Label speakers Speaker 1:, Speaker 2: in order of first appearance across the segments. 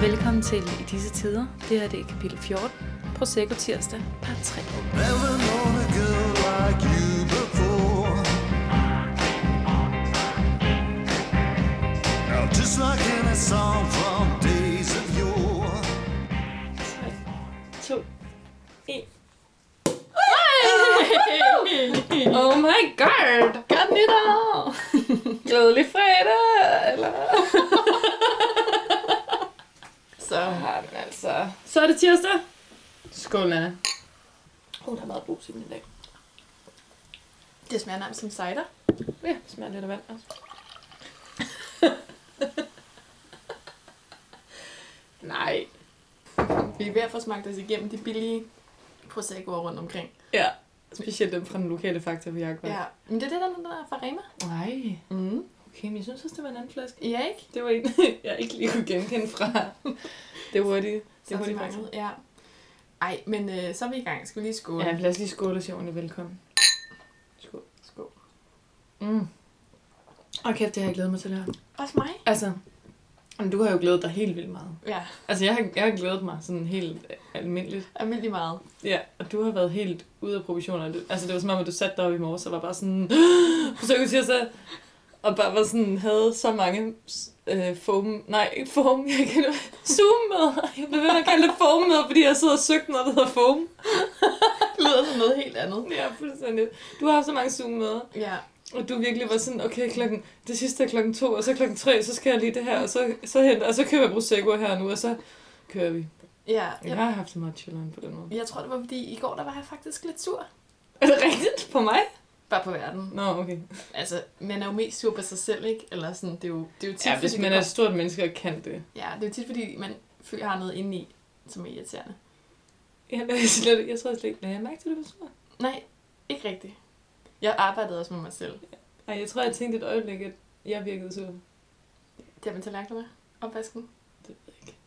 Speaker 1: Velkommen til I disse tider. Det her det er kapitel 14, Prosecco tirsdag, part 3.
Speaker 2: Never known a girl like you before. Now, just like in a song from days of yore.
Speaker 1: 2, 1. Oh my god! Godt nytår! Glædelig fredag! Eller...
Speaker 3: Så har den altså...
Speaker 1: Så er det tirsdag.
Speaker 3: Skål, Nana.
Speaker 1: Hun har meget brus i den i dag.
Speaker 3: Det smager nærmest som cider.
Speaker 1: Ja, det smager lidt af vand også.
Speaker 3: Nej. Vi er ved at få smagt os igennem de billige proseccoer rundt omkring.
Speaker 1: Ja, specielt den fra den lokale faktor på Jakob.
Speaker 3: Ja. Men det er det, der, der er fra Rema.
Speaker 1: Nej,
Speaker 3: Mm.
Speaker 1: okay, men jeg synes også, det var en anden flaske.
Speaker 3: Ja, ikke?
Speaker 1: Det var en, jeg ikke lige kunne genkende fra det hurtige. Det
Speaker 3: Så
Speaker 1: hurtige
Speaker 3: mange. Ja. Ej, men øh, så er vi i gang. Skal vi lige skåle?
Speaker 1: Ja, lad os lige skåle og sige ordentligt velkommen. Skål.
Speaker 3: Skål.
Speaker 1: Mm. Og kæft, det har jeg glædet mig til det her.
Speaker 3: Også mig?
Speaker 1: Altså, men du har jo glædet dig helt vildt meget.
Speaker 3: Ja,
Speaker 1: Altså, jeg har, jeg har glædet mig sådan helt almindeligt.
Speaker 3: almindelig meget.
Speaker 1: Ja, og du har været helt ude af proportioner. Du- Altså, det var som om, at du satte dig op i morges og var bare sådan... Forsøg til sig. Og bare var sådan, havde så mange øh, foam... Nej, ikke foam. Jeg kan Zoom med. Jeg blev ved med at kalde det foam med, fordi jeg sidder og søgte noget, der hedder foam.
Speaker 3: Det lyder som noget helt andet.
Speaker 1: Ja, fuldstændig. Du har haft så mange Zoom med.
Speaker 3: Ja.
Speaker 1: Og du virkelig var sådan, okay, klokken, det sidste er klokken to, og så klokken tre, så skal jeg lige det her, og så, så henter, og så køber jeg Prosecco her nu, og så kører vi.
Speaker 3: Ja.
Speaker 1: Jeg
Speaker 3: Jeg,
Speaker 1: har haft så meget chilleren på den måde.
Speaker 3: jeg tror, det var fordi, i går der var jeg faktisk lidt sur.
Speaker 1: Er det rigtigt? På mig?
Speaker 3: Bare på verden.
Speaker 1: Nå, okay.
Speaker 3: Altså, man er jo mest sur på sig selv, ikke? Eller sådan, det er jo, det er jo tit,
Speaker 1: Ja, hvis
Speaker 3: fordi
Speaker 1: man
Speaker 3: det
Speaker 1: er et stort menneske og kan det.
Speaker 3: Ja, det er jo tit, fordi man føler, har noget indeni, som er irriterende.
Speaker 1: Jeg, jeg, slet, jeg tror slet ikke, lagde jeg mærke til, at du var sur.
Speaker 3: Nej, ikke rigtigt. Jeg arbejdede også med mig selv.
Speaker 1: Ej, jeg tror, jeg tænkte et øjeblik, at jeg virkede sur.
Speaker 3: Det har man tallerkener med opvasken.
Speaker 1: Det ved jeg ikke.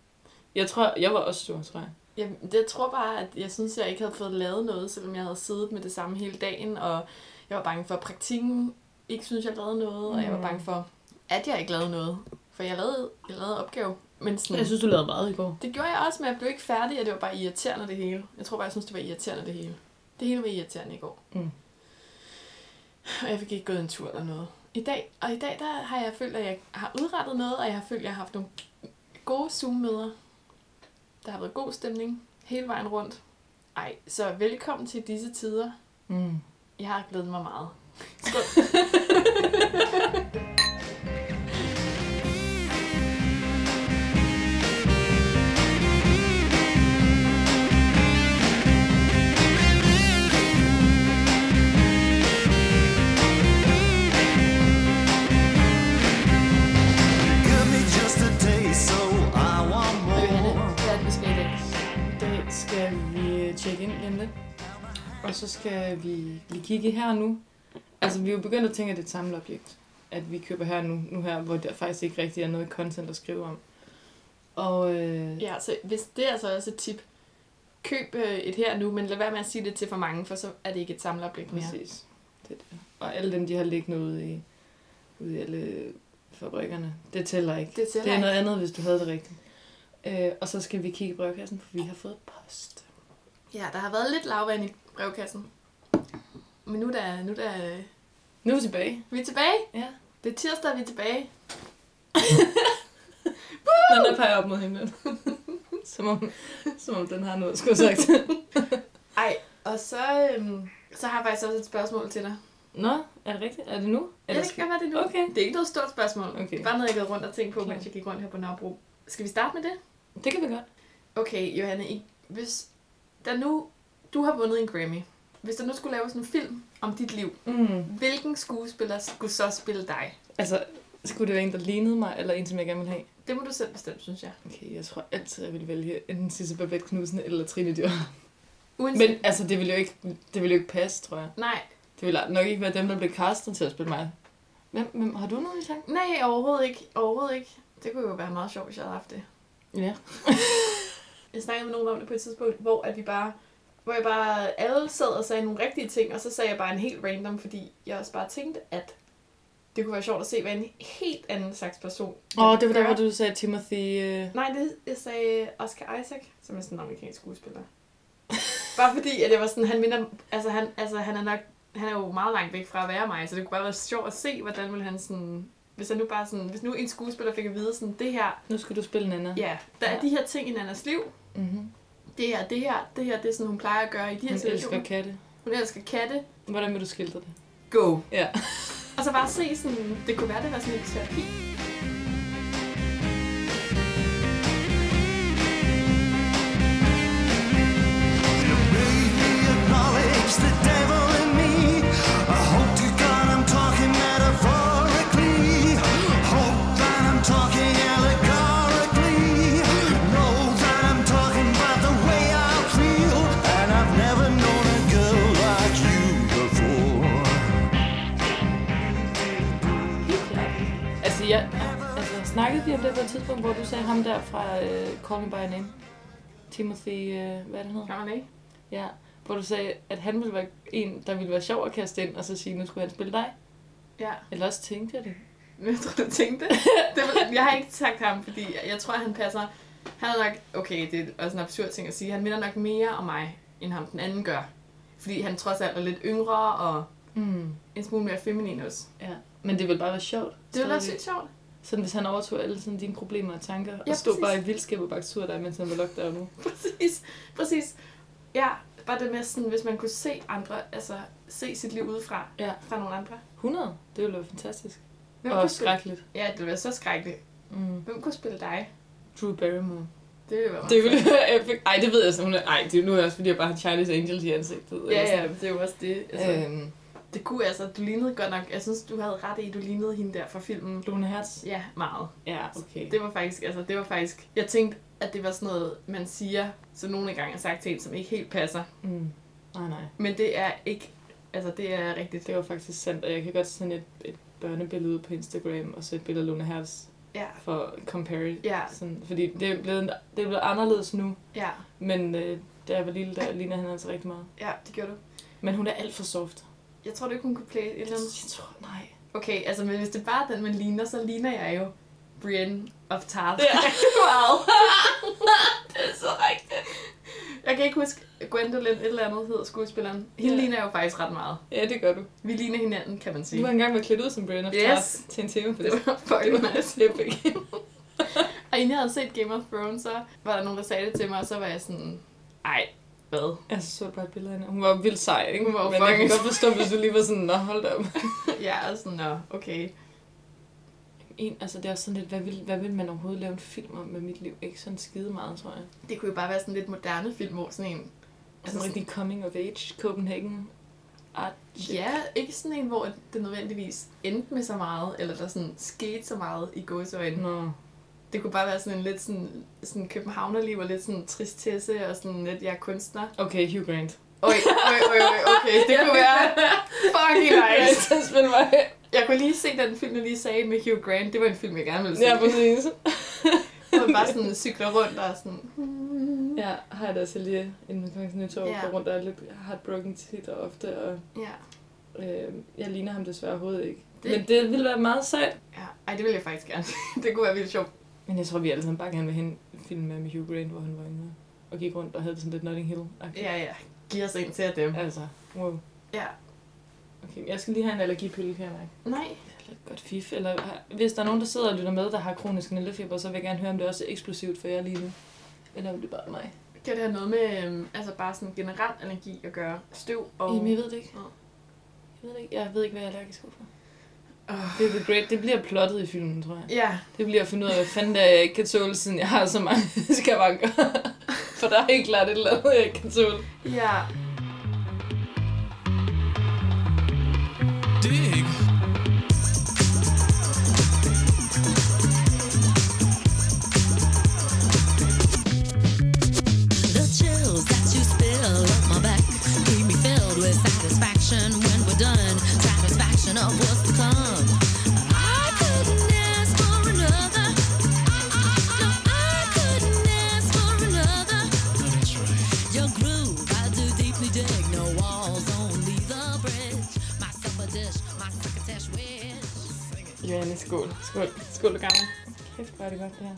Speaker 1: Jeg tror, jeg var også sur, tror jeg.
Speaker 3: Jeg, jeg tror bare, at jeg synes, jeg ikke havde fået lavet noget, selvom jeg havde siddet med det samme hele dagen, og jeg var bange for, at praktikken ikke synes, jeg lavede noget, og jeg var
Speaker 1: Mm.
Speaker 3: bange for, at jeg ikke lavede noget. For jeg lavede, jeg lavede opgave, men sådan,
Speaker 1: synes, du lavede meget i går.
Speaker 3: det gjorde jeg også, men jeg blev ikke færdig, og det var bare irriterende det hele. Jeg tror bare, jeg synes, det var irriterende det hele. Det hele var irriterende i går.
Speaker 1: Mm.
Speaker 3: Og jeg fik ikke gået en tur eller noget. I dag, og i dag der har jeg følt, at jeg har udrettet noget, og jeg har følt, at jeg har haft nogle gode Zoom-møder. Der har været god stemning hele vejen rundt. Ej, så velkommen til disse tider.
Speaker 1: Mm.
Speaker 3: Jeg har glædet mig meget.
Speaker 2: Give me just a taste, so I want
Speaker 3: Johanne,
Speaker 2: more.
Speaker 3: hvad er det, vi skal i dag?
Speaker 1: I dag skal vi tjekke ind igen lidt. Og så skal vi, vi kigge her og nu. Altså, vi er jo begyndt at tænke, at det er et samleobjekt. At vi køber her og nu, nu her, hvor der faktisk ikke rigtig er noget content at skrive om. Og øh,
Speaker 3: Ja, så hvis det er altså også et tip, køb øh, et her nu, men lad være med at sige det til for mange, for så er det ikke et samleoplæg mere.
Speaker 1: præcis. Det der. Og alle dem, de har liggende ude i, ude i alle fabrikkerne, det tæller ikke.
Speaker 3: Det tæller
Speaker 1: det er
Speaker 3: ikke.
Speaker 1: noget andet, hvis du havde det rigtigt. Øh, og så skal vi kigge i brevkassen, for vi har fået post.
Speaker 3: Ja, der har været lidt lavvand i brevkassen. Men nu er der, nu er der, øh,
Speaker 1: Nu er vi tilbage.
Speaker 3: vi er tilbage.
Speaker 1: Ja.
Speaker 3: Det er tirsdag, vi er tilbage.
Speaker 1: Den der peger op mod himlen. som, om, som om den har noget, at skulle have sagt.
Speaker 3: Ej, og så, øhm, så har jeg faktisk også et spørgsmål til dig.
Speaker 1: Nå, er det rigtigt? Er det nu?
Speaker 3: Ja, det kan godt være det nu.
Speaker 1: Okay.
Speaker 3: Det er ikke noget stort spørgsmål.
Speaker 1: Okay.
Speaker 3: Det er bare noget, jeg gik rundt og tænkte på,
Speaker 1: Klar.
Speaker 3: mens jeg gik rundt her på Nørrebro. Skal vi starte med det?
Speaker 1: Det kan vi godt.
Speaker 3: Okay, Johanne, I- hvis der nu, du har vundet en Grammy. Hvis der nu skulle laves en film om dit liv,
Speaker 1: Mm.
Speaker 3: Hvilken skuespiller skulle så spille dig?
Speaker 1: Altså, skulle det være en, der lignede mig, eller en, som jeg gerne ville have?
Speaker 3: Det må du selv bestemme, synes jeg.
Speaker 1: Okay, jeg tror altid, jeg ville vælge enten Sisse Babette Knudsen eller Trine
Speaker 3: Altså-
Speaker 1: Dyr.
Speaker 3: Uanset...
Speaker 1: Men altså, det ville jo ikke, det ville jo ikke passe, tror jeg.
Speaker 3: Nej,
Speaker 1: Det ville nok ikke være dem, der blev castet til at spille mig. Hvem, hvem har du nogen i tanken?
Speaker 3: nej, overhovedet ikke. Overhovedet ikke. Det kunne jo være meget sjovt, hvis jeg havde haft det.
Speaker 1: Ja.
Speaker 3: Jeg snakkede med nogen om det på et tidspunkt, hvor at vi bare hvor jeg bare alle sad og sagde nogle rigtige ting, og så sagde jeg bare en helt random, fordi jeg også bare tænkte, at Det kunne være sjovt at se, hvad en helt anden slags person
Speaker 1: Åh, oh,
Speaker 3: ville
Speaker 1: det var der,
Speaker 3: gøre.
Speaker 1: hvor du sagde Timothy... Øh...
Speaker 3: Nej, det, jeg sagde Oscar Isaac, som er sådan en amerikansk skuespiller. bare fordi, at jeg var sådan, han minder, altså han, altså han er nok, han er jo meget langt væk fra at være mig, så det kunne bare være sjovt at se, hvordan ville han sådan, hvis han nu bare sådan, hvis nu en skuespiller fik at vide sådan, det her,
Speaker 1: Nu skal du spille Nana.
Speaker 3: ja, der er
Speaker 1: Ja.
Speaker 3: de her ting i Nannas liv,
Speaker 1: Mm-hmm.
Speaker 3: det her, det her, det her, det er sådan, hun plejer at gøre i de her
Speaker 1: Hun
Speaker 3: situationer.
Speaker 1: elsker katte.
Speaker 3: Hun elsker katte.
Speaker 1: Hvordan vil du skildre det?
Speaker 3: Go.
Speaker 1: Ja.
Speaker 3: Og så bare se sådan, det kunne være, det var sådan en terapi.
Speaker 2: acknowledge the devil in me. I hope to God I'm talking metaphorically. Hope that I'm talking allegorically. Know that I'm talking about the way I feel. And I've never known a girl like you before.
Speaker 1: Helt klart. Altså, jeg, altså, snakkede vi om det på et tidspunkt, hvor du sagde ham der fra øh, Call Me By Your Name? Timothy, øh, hvad er det hedder?
Speaker 3: Kan man ikke?
Speaker 1: Ja. Hvor du sagde, at han ville være en, der ville være sjov at kaste ind, og så sige, nu skulle han spille dig.
Speaker 3: Ja.
Speaker 1: Eller også tænkte jeg det.
Speaker 3: Men jeg tror, du tænkte det. var- Jeg har ikke sagt ham, fordi jeg tror, han passer... Han er nok... Okay, det er også en absurd ting at sige. Han minder nok mere om mig, end ham den anden gør. Fordi han trods alt er lidt yngre og
Speaker 1: Mm.
Speaker 3: en smule mere feminin også.
Speaker 1: Ja. Men det ville bare være sjovt.
Speaker 3: Det er da
Speaker 1: stadigvæk.
Speaker 3: sygt sjovt.
Speaker 1: Sådan, hvis han overtog alle sådan, dine problemer og tanker, ja,
Speaker 3: Ja,
Speaker 1: og stod
Speaker 3: præcis.
Speaker 1: bare i vildskab og bagte sur dig, mens han var lockdown nu.
Speaker 3: Præcis. Præcis. Ja, bare det med sådan, hvis man kunne se andre, altså se sit liv udefra,
Speaker 1: Ja.
Speaker 3: fra nogle andre.
Speaker 1: 100. Det ville være fantastisk.
Speaker 3: Hvem
Speaker 1: og
Speaker 3: kunne spille?
Speaker 1: skrækkeligt.
Speaker 3: Ja, det ville være så skrækkeligt.
Speaker 1: Mm.
Speaker 3: Hvem kunne spille dig?
Speaker 1: Drew Barrymore.
Speaker 3: Det ville være meget
Speaker 1: Det ville være epic. Ej, det ved jeg så. Hun er, ej, det er nu er jeg også, fordi jeg bare har Charlie's Angels i ansigtet.
Speaker 3: fedt. Ja, ja, det er jo også det. Altså, øh.
Speaker 1: Øhm,
Speaker 3: Det kunne altså, du lignede godt nok, jeg synes, du havde ret i, du lignede hende der fra filmen
Speaker 1: Lone Hertz.
Speaker 3: Ja, meget.
Speaker 1: Ja, okay.
Speaker 3: Det var faktisk, altså det var faktisk, jeg tænkte, at det var sådan noget, man siger, som nogen engang har sagt til en, som ikke helt passer.
Speaker 1: Mm. Nej, nej.
Speaker 3: Men det er ikke, altså det er rigtigt.
Speaker 1: Det var faktisk sandt, og jeg kan godt sende et, et børnebillede ud på Instagram, og så et billede af Lone Hertz
Speaker 3: Ja,
Speaker 1: for at compare.
Speaker 3: ja,
Speaker 1: Sådan, fordi det er, blevet, det er blevet anderledes nu,
Speaker 3: ja,
Speaker 1: men øh, da jeg var lille, der lignede han altså rigtig meget.
Speaker 3: ja, det gjorde du.
Speaker 1: Men hun er alt for soft.
Speaker 3: Jeg tror du ikke, hun kunne play et eller andet.
Speaker 1: Jeg tror, nej.
Speaker 3: Okay, altså, men hvis det bare er den, man ligner, så ligner jeg jo Brienne of Tarth.
Speaker 1: Ja.
Speaker 3: wow.
Speaker 1: Det er så rigtigt.
Speaker 3: Jeg kan ikke huske, Gwendolyn et eller andet hedder skuespilleren. Hende
Speaker 1: Ja.
Speaker 3: ja. ligner jeg jo faktisk ret meget.
Speaker 1: Ja, det gør du.
Speaker 3: Vi ligner hinanden, kan man sige.
Speaker 1: Du har engang været klædt ud som Brian of
Speaker 3: Yes.
Speaker 1: Tarth til en temafest.
Speaker 3: Det var
Speaker 1: det
Speaker 3: fucking
Speaker 1: var
Speaker 3: nice.
Speaker 1: epic.
Speaker 3: Og inden jeg havde set Game of Thrones, så var der nogen, der sagde det til mig, og så var jeg sådan, ej, hvad?
Speaker 1: Jeg så bare et billede af hende. Hun var jo vildt sej, ikke?
Speaker 3: Hun var jo
Speaker 1: Men jeg kan
Speaker 3: fucking
Speaker 1: godt forstå, hvis du lige var sådan, nå hold da op.
Speaker 3: Jeg er sådan, nå, okay.
Speaker 1: En, altså det er også sådan lidt, hvad vil, hvad vil man overhovedet lave en film om med mit liv? Ikke sådan skide meget, tror jeg.
Speaker 3: Det kunne jo bare være sådan lidt moderne film, hvor sådan en...
Speaker 1: Altså en rigtig coming of age, Copenhagen. Art.
Speaker 3: Ja, ikke sådan en, hvor det nødvendigvis endte med så meget, eller der sådan skete så meget i gåsøjne. Mm.
Speaker 1: Nå.
Speaker 3: Det kunne bare være sådan en lidt sådan, sådan københavnerliv, og lidt sådan tristesse, og sådan lidt, jeg er kunstner.
Speaker 1: Okay, Hugh Grant.
Speaker 3: Oj, oj, oj, oj, okay, det kunne være fucking nice.
Speaker 1: Ja, spil mig.
Speaker 3: Jeg kunne lige se den film, jeg lige sagde med Hugh Grant. Det var en film, jeg gerne ville se.
Speaker 1: Ja, præcis.
Speaker 3: Hvor man bare sådan cykler rundt og sådan... "Mm."
Speaker 1: Ja, har jeg da også lige en kongens nytår,
Speaker 3: Ja.
Speaker 1: ja. rundt og er lidt heartbroken tit og ofte, og
Speaker 3: Ja.
Speaker 1: øh, jeg ligner ham desværre overhovedet ikke.
Speaker 3: Det-
Speaker 1: Det. Men det ville være meget sejt.
Speaker 3: ja. Ej, det vil jeg faktisk gerne. det kunne være vildt sjovt.
Speaker 1: Men jeg tror, vi alle sammen bare gerne vil hen film med med Hugh Grant, hvor han var yngre. Og gik rundt og havde det sådan lidt Notting hill -agtigt.
Speaker 3: Ja, ja. Giv os en til at dem.
Speaker 1: Altså, wow.
Speaker 3: Ja.
Speaker 1: Okay, jeg skal lige have en allergipille, kan jeg mærke.
Speaker 3: Nej.
Speaker 1: Eller et godt fif. Eller har- hvis der er nogen, der sidder og lytter med, der har kronisk nældefeber, så vil jeg gerne høre, om det også er eksplosivt for jer lige nu. Eller om det bare er mig.
Speaker 3: Kan det have noget med øhm, altså bare sådan generelt energi at gøre? Støv og...
Speaker 1: Oh. Jamen, jeg ved det ikke.
Speaker 3: Nå.
Speaker 1: Jeg ved det ikke. Jeg ved ikke, hvad jeg er allergisk overfor.
Speaker 3: Åh.
Speaker 1: Det er the great. Det bliver plottet i filmen, tror jeg.
Speaker 3: Ja.
Speaker 1: Det bliver at finde ud af, hvad fanden det er, jeg ikke kan tåle, siden jeg har så mange skavanker. For der er helt klart et eller andet, jeg ikke kan tåle.
Speaker 3: Ja.
Speaker 2: dig.
Speaker 4: The chills that you spill up my back keep me filled with satisfaction when we're done. Satisfaction of what's to come. I couldn't ask for another. No, I couldn't ask for another. Your groove, I do deeply dig. No walls, only the bridge. My supper dish, my crocketesh wish.
Speaker 3: Julianne, skål.
Speaker 1: Skål.
Speaker 3: Skål, du gammel.
Speaker 1: Kæft, hvor er det godt, det her.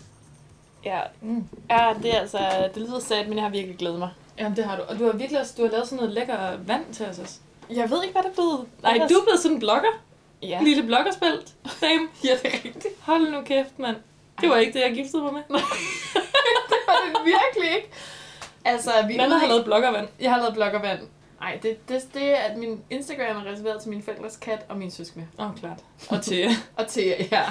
Speaker 3: Ja,
Speaker 1: Mm.
Speaker 3: ja det, er altså, det lyder sat, men jeg har virkelig glædet mig.
Speaker 1: Jamen, det har du. Og du har virkelig også, du har lavet sådan noget lækker vand til os også.
Speaker 3: Jeg ved ikke, hvad der blev.
Speaker 1: Nej, du er blevet sådan en blogger.
Speaker 3: Ja.
Speaker 1: Ja. Lille bloggerspelt. Dame.
Speaker 3: ja, det er rigtigt.
Speaker 1: Hold nu kæft, mand. Det var ikke det, jeg giftede mig med.
Speaker 3: det var det virkelig ikke. Altså, vi
Speaker 1: Nana har lavet bloggervand.
Speaker 3: Jeg har lavet blokkervand. Nej, det, det, det er, at min Instagram er reserveret til min forældres kat og min søskende.
Speaker 1: Åh, oh, klart. Og til
Speaker 3: Og til jer. Ja.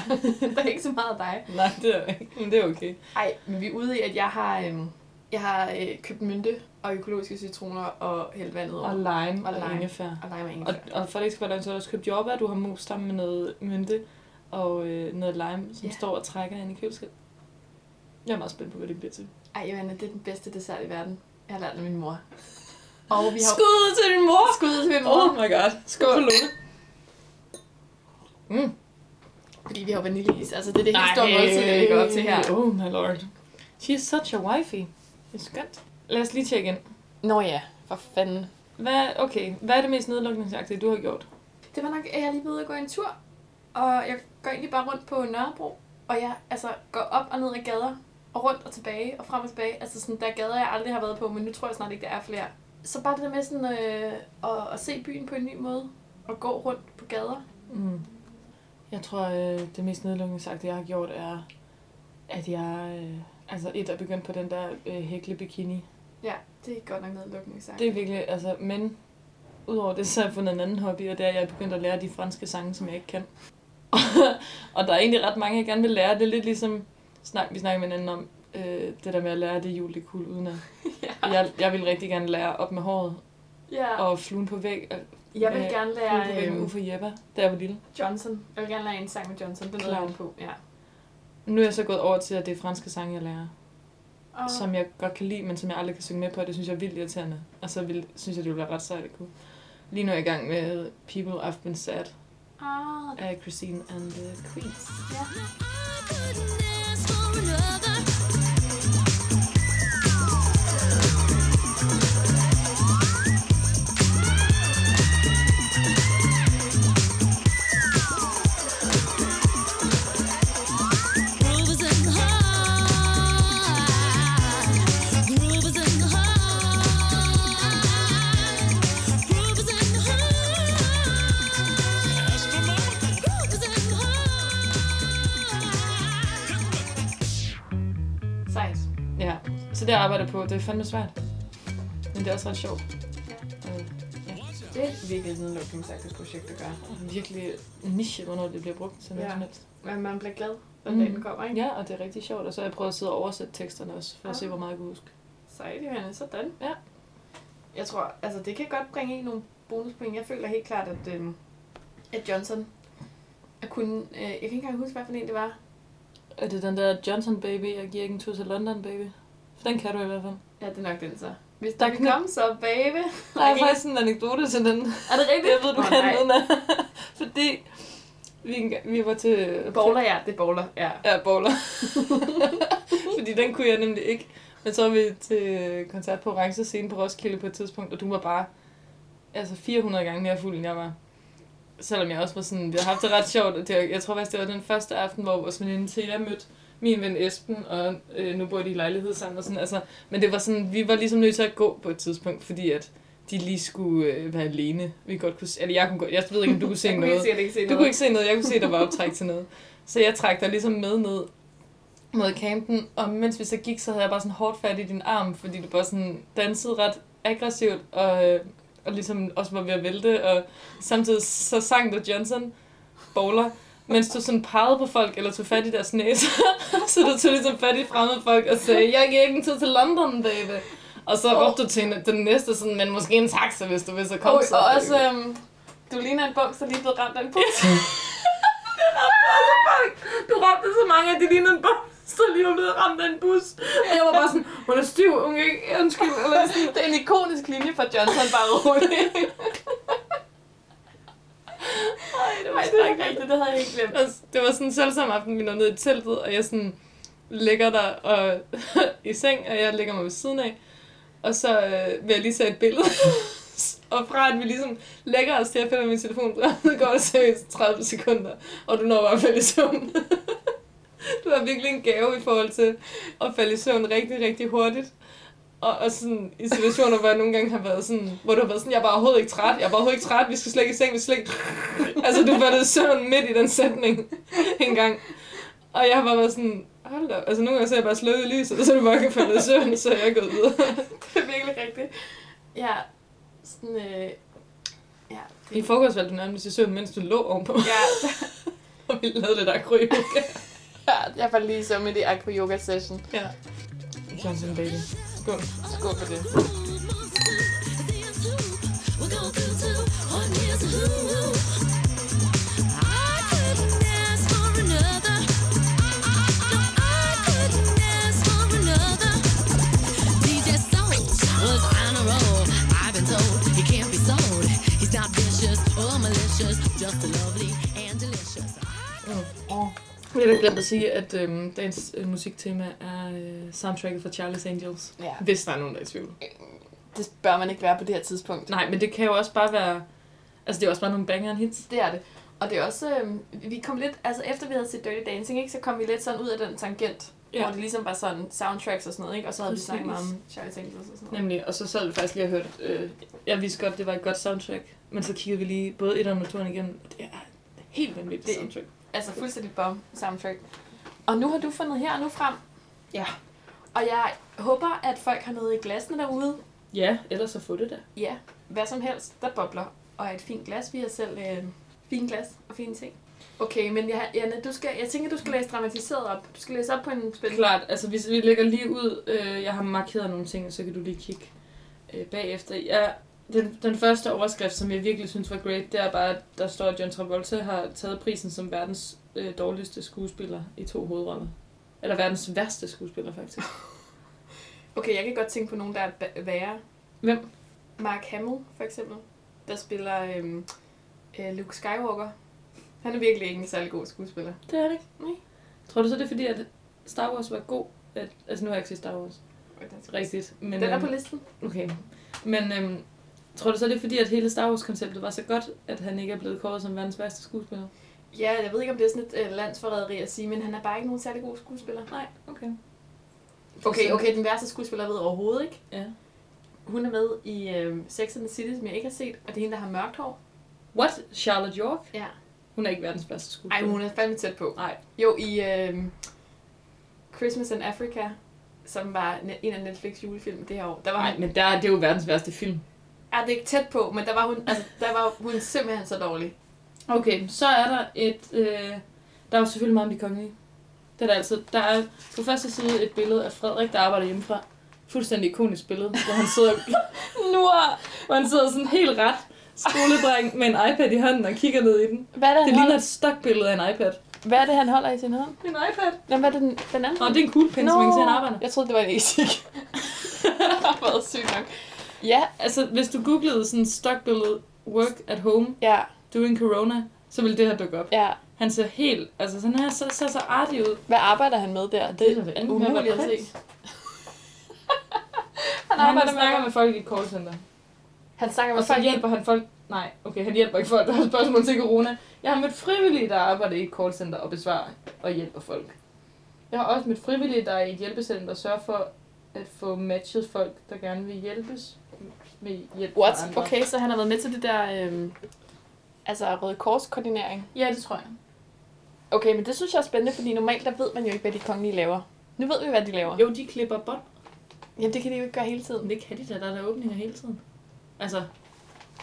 Speaker 3: der er ikke så meget af dig.
Speaker 1: Nej, det er ikke. Men det er okay.
Speaker 3: Nej, men vi er ude i, at jeg har, øhm, jeg har øh, købt mynte og økologiske citroner og hældt vandet over.
Speaker 1: Og lime
Speaker 3: Og
Speaker 1: og,
Speaker 3: lime.
Speaker 1: og ingefær.
Speaker 3: Og lime og
Speaker 1: Og,
Speaker 3: ingefær.
Speaker 1: og for det ikke skal være løgn, så har du også købt jordbær, du har mus sammen med noget mynte og øh, noget lime, som
Speaker 3: Ja.
Speaker 1: yeah. står og trækker ind i køleskabet. Jeg er meget spændt på, hvad det bliver til.
Speaker 3: Ej, Johanna, det er den bedste dessert i verden. Jeg har lært af min mor. Og vi har...
Speaker 1: Skud til din mor!
Speaker 3: Skud til min mor,
Speaker 1: Oh my god. Skål, Lone. Mm.
Speaker 3: fordi vi har vaniljeis. Altså, det er det helt store måltid, jeg lægger op til her.
Speaker 1: Oh my lord. She's such a wifey. Det er skønt. Lad os lige tjekke ind.
Speaker 3: Nå ja, for fanden.
Speaker 1: Hvad, okay, hvad er det mest nedlukningsagtige, du har gjort?
Speaker 3: Det var nok, at jeg lige var ude at gå en tur, og jeg går egentlig bare rundt på Nørrebro, og jeg altså, går op og ned ad gader, og rundt og tilbage, og frem og tilbage. Altså sådan, der er gader, jeg aldrig har været på, men nu tror jeg snart ikke, der er flere. Så bare det der med sådan, øh, at, at se byen på en ny måde, og gå rundt på gader.
Speaker 1: Mm. Jeg tror, øh, det mest nedlukningsagtige, jeg har gjort, er, at jeg... Øh, altså, et er begyndt på den der øh, hækle bikini.
Speaker 3: Ja, det er godt nok nedlukning, sagt.
Speaker 1: Det er virkelig, altså, men udover det, så har jeg fundet en anden hobby, og det er, at jeg er begyndt at lære de franske sange, som jeg ikke kan. og der er egentlig ret mange, jeg gerne vil lære. Det er lidt ligesom, snak, vi snakker med hinanden om, øh, det der med at lære det jul, det er cool, uden at...
Speaker 3: ja.
Speaker 1: Jeg, jeg vil rigtig gerne lære op med håret,
Speaker 3: ja.
Speaker 1: og fluen på væg, øh,
Speaker 3: Jeg vil
Speaker 1: øh,
Speaker 3: gerne
Speaker 1: fluen på væg
Speaker 3: lære
Speaker 1: med
Speaker 3: øh,
Speaker 1: Uffe Jeppe, da jeg var lille.
Speaker 3: Johnson. Jeg vil gerne lære en sang med Johnson. Det er noget, jeg
Speaker 1: Klart.
Speaker 3: er på. Ja.
Speaker 1: Nu er jeg så gået over til, at det er franske sange, jeg lærer,
Speaker 3: Og,
Speaker 1: som jeg godt kan lide, men som jeg aldrig kan synge med på, og det synes jeg er vildt irriterende. Og så vil, synes jeg, det ville være ret sejt at kunne. Lige nu er jeg i gang med People I've Been Sad
Speaker 3: ah,
Speaker 1: af Christine and the Queens.
Speaker 4: I couldn't ask for another. Groove is in the heart. Groove is in the heart. Groove is in the heart. Ask for more. Groove is in
Speaker 3: sejt.
Speaker 4: the heart.
Speaker 1: Ja, så det jeg arbejder på, det er fandme svært. Men det er også ret sjovt. Øh,
Speaker 3: Det er virkelig et nedlukningsagtigt at gøre.
Speaker 1: og virkelig en niche, hvornår det bliver brugt til noget
Speaker 3: Ja.
Speaker 1: ja. som helst.
Speaker 3: Men man bliver glad, når
Speaker 1: Mm.
Speaker 3: dagen kommer, ikke? Ah.
Speaker 1: Ja, og det er rigtig sjovt. Og så har jeg prøvet at sidde og oversætte teksterne også, for at se, hvor meget jeg kan huske.
Speaker 3: Sejt, Johanne. Sådan.
Speaker 1: Ja.
Speaker 3: Jeg tror, altså det kan godt bringe en nogle bonuspoint. Jeg føler helt klart, at, øhm, at Johnson at kunne... Øh, jeg kan ikke engang huske, hvad for en det var.
Speaker 1: Er det den der Johnson Baby, jeg giver ikke en tur til London Baby? For den kan du i hvert fald.
Speaker 3: Ja, det er nok den så. Hvis
Speaker 1: Der
Speaker 3: der kan
Speaker 1: kny-
Speaker 3: komme så, baby.
Speaker 1: Der er faktisk en anekdote til den.
Speaker 3: Er det rigtigt?
Speaker 1: Jeg ved, du
Speaker 3: Nå,
Speaker 1: kan
Speaker 3: nej.
Speaker 1: den. Fordi vi, engang- vi var til...
Speaker 3: Bowler, ja. Det er bowler, ja.
Speaker 1: Ja, bowler. Fordi den kunne jeg nemlig ikke. Men så var vi til koncert på Orange Scene på Roskilde på et tidspunkt, og du var bare altså 400 gange mere fuld, end jeg var. Selvom jeg også var sådan, vi har haft det ret sjovt. og Det, var- jeg tror faktisk, det var den første aften, hvor vores veninde Thea mødte min ven Esben, og øh, nu bor de i lejlighed sammen. Og sådan, altså, men det var sådan, vi var ligesom nødt til at gå på et tidspunkt, fordi at de lige skulle øh, være alene. Vi godt kunne, se- eller jeg kunne godt, jeg ved ikke, om du kunne se
Speaker 3: Jeg kunne
Speaker 1: noget.
Speaker 3: ikke se, at jeg ikke se noget.
Speaker 1: Du kunne ikke se noget, jeg kunne se, der var optræk til noget. Så jeg trak dig ligesom med ned mod campen, og mens vi så gik, så havde jeg bare sådan hårdt fat i din arm, fordi du bare sådan dansede ret aggressivt, og, øh, og ligesom også var ved at vælte, og samtidig så sang du Johnson bowler, mens du sådan pegede på folk, eller tog fat i deres næse. så du tog ligesom fat i fremmede folk og sagde, jeg giver ikke en tid til London, baby. Og så råbte du til hende, den næste sådan, men måske en taxa, hvis du vil, så kom
Speaker 3: Og,
Speaker 1: så.
Speaker 3: og
Speaker 1: baby."
Speaker 3: også, øhm, du ligner en bums, der lige er blevet ramt af en pose.
Speaker 1: altså Du råbte så mange, at det lignede en bus, så lige var blevet ramt af en bus. Og jeg var bare sådan, hun er stiv, hun kan ikke undskylde. Eller sådan.
Speaker 3: det er en ikonisk linje fra Johnson, bare rolig. Ej, det var ikke rigtigt, det havde jeg ikke glemt.
Speaker 1: Og Det var sådan selv samme aften, vi nåede ned i teltet, og jeg sådan ligger der og, i seng, og jeg ligger mig ved siden af. Og så øh, vil jeg lige tage et billede. og fra at vi ligesom lægger os til at pille min telefon, så går det seriøst 30 sekunder, og du når bare at falde i søvn. du har virkelig en gave i forhold til at falde i søvn rigtig, rigtig hurtigt. Og, og sådan, i situationer, hvor jeg nogle gange har været sådan, hvor du har været sådan, jeg er bare overhovedet ikke træt, jeg er bare overhovedet ikke træt, vi skal slet ikke i seng, vi skal slet ikke... Altså, du faldt i søvn midt i den sætning en gang. Og jeg har bare været sådan, hold da, op. altså nogle gange så er jeg bare slået i lyset, og så er du bare ikke faldet i søvn, så er jeg gået videre.
Speaker 3: Det er virkelig rigtigt. Ja, sådan, øh, ja,
Speaker 1: I
Speaker 3: det,
Speaker 1: forgårs faldt du nærmest i søvn, mens du lå ovenpå,
Speaker 3: ja,
Speaker 1: og vi lavede det der kryyoga.
Speaker 3: ja, jeg var lige så med det aqua yoga session.
Speaker 1: ja. Johnson baby. Skål.
Speaker 3: Skål for det.
Speaker 4: Just lovely and delicious.
Speaker 1: Vi har da glemt at sige, at øhm, dagens øh, musiktema er øh, soundtracket fra Charlie's Angels.
Speaker 3: Ja,
Speaker 1: Hvis der er nogen, der er i tvivl.
Speaker 3: det bør man ikke være på det her tidspunkt.
Speaker 1: Nej, men det kan jo også bare være... Altså, det er også bare nogle bangeren hits.
Speaker 3: Det er det. Og det er også, øh, vi kom lidt, altså efter vi havde set Dirty Dancing, ikke, så kom vi lidt sådan ud af den tangent, ja. hvor det ligesom var sådan soundtracks og sådan noget, ikke? og så havde Præcis.
Speaker 1: Præcis.
Speaker 3: vi snakket meget om Charlie's Angels og sådan noget.
Speaker 1: Nemlig, og så sad vi faktisk lige og hørte, øh, jeg vidste godt, det var et godt soundtrack, men så kiggede vi lige både et og naturen igennem, og det er et helt vanvittigt
Speaker 3: Det-
Speaker 1: soundtrack.
Speaker 3: Altså fuldstændig bom soundtrack. Og nu har du fundet her og nu frem.
Speaker 1: Ja.
Speaker 3: Og jeg håber, at folk har noget i glassene derude.
Speaker 1: Ja, ellers så få det da.
Speaker 3: Ja, hvad som helst, der bobler. Og er et fint glas, vi har selv øh, fint glas og fine ting. Okay, men jeg, Janne, du skal, jeg tænker, du skal læse dramatiseret op. Du skal læse op på en spil.
Speaker 1: Klart, altså hvis vi lægger lige ud, øh, jeg har markeret nogle ting, så kan du lige kigge øh, bagefter. Ja, den, den første overskrift, som jeg virkelig synes var great, det er bare, at der står, at John Travolta har taget prisen som verdens øh, dårligste skuespiller i to hovedroller. Eller verdens værste skuespiller, faktisk.
Speaker 3: Okay, jeg kan godt tænke på nogen, der er ba- værre.
Speaker 1: Hvem?
Speaker 3: Mark Hamill, for eksempel, der spiller øhm, øh, Luke Skywalker. Han er virkelig ikke en særlig god skuespiller.
Speaker 1: Det er det ikke. Nej. Tror du så, det er fordi, at Star Wars var god? At, altså nu har jeg ikke set Star Wars rigtigt. Men,
Speaker 3: Den er
Speaker 1: øhm,
Speaker 3: på listen.
Speaker 1: Okay. Men øhm, tror du så, det er fordi, at hele Star Wars-konceptet var så godt, at han ikke er blevet kåret som verdens værste skuespiller?
Speaker 3: Ja, jeg ved ikke, om det er sådan et øh, landsforræderi at sige, men han er bare ikke nogen særlig god skuespiller.
Speaker 1: Nej, okay.
Speaker 3: Okay, okay, den værste skuespiller jeg ved overhovedet ikke.
Speaker 1: Ja.
Speaker 3: Hun er med i øh, Sex and the City, som jeg ikke har set, og det er hende, der har mørkt hår.
Speaker 1: What? Charlotte York?
Speaker 3: Ja.
Speaker 1: Hun er ikke verdens bedste
Speaker 3: Ej,
Speaker 1: skuespiller.
Speaker 3: hun er fandme tæt på.
Speaker 1: Nej.
Speaker 3: Jo, i øh, Christmas in Africa, som var ne- en af Netflix julefilm det her år, der var
Speaker 1: Nej,
Speaker 3: hun
Speaker 1: men der, det er jo verdens værste film.
Speaker 3: Ja, det er ikke tæt på, men der var hun, altså, der var hun simpelthen så dårlig.
Speaker 1: Okay, så er der et... Øh, der er jo selvfølgelig meget om de kongelige. Det er der altid. Der er på første side et billede af Frederik, der arbejder hjemmefra. Fuldstændig ikonisk billede, hvor han sidder,
Speaker 3: Nu
Speaker 1: hvor han sidder sådan helt ret skoledreng med en iPad i hånden og kigger ned i den.
Speaker 3: hvad er,
Speaker 1: Det ligner et stokbillede af en iPad.
Speaker 3: hvad er det, han holder i sin hånd?
Speaker 1: En iPad?
Speaker 3: Jamen, hvad er det, den, den anden?
Speaker 1: Nå, det er en kuglepen, som man kan se, han arbejder.
Speaker 3: Jeg troede, det var en esik. det har været sygt nok. Ja,
Speaker 1: Altså, hvis du googlede sådan stokbillede work at home
Speaker 3: ja,
Speaker 1: during corona, så ville det her dukke op.
Speaker 3: ja.
Speaker 1: Han ser helt, altså sådan her, så, så, så artig ud.
Speaker 3: Hvad arbejder han med der? Det,
Speaker 1: da det
Speaker 3: er
Speaker 1: andet med at
Speaker 3: umuligt at
Speaker 1: være
Speaker 3: se.
Speaker 1: prins.
Speaker 3: han
Speaker 1: Han,
Speaker 3: arbejder
Speaker 1: han snakker med
Speaker 3: med,
Speaker 1: folk i et callcenter.
Speaker 3: han snakker
Speaker 1: Og
Speaker 3: med
Speaker 1: så
Speaker 3: folk.
Speaker 1: hjælper han folk... Nej, okay, han hjælper ikke folk, der har spørgsmål til corona. Jeg har mødt frivillige, der arbejder i et callcenter og besvarer og hjælper folk. Jeg har også mødt frivillige, der er i et hjælpecenter og sørger for at få matchet folk, der gerne vil hjælpes med hjælp fra
Speaker 3: What?
Speaker 1: andre.
Speaker 3: Okay, så han har været med til det der, øhm, altså Røde Kors-koordinering.
Speaker 1: Ja, det tror jeg.
Speaker 3: Okay, men det synes jeg er spændende, fordi normalt der ved man jo ikke, hvad de kongelige laver. Nu ved vi, hvad de laver.
Speaker 1: Jo, de klipper bånd.
Speaker 3: Jamen, det kan de jo ikke gøre hele tiden.
Speaker 1: Men det kan de da, der er der åbninger hele tiden. Altså,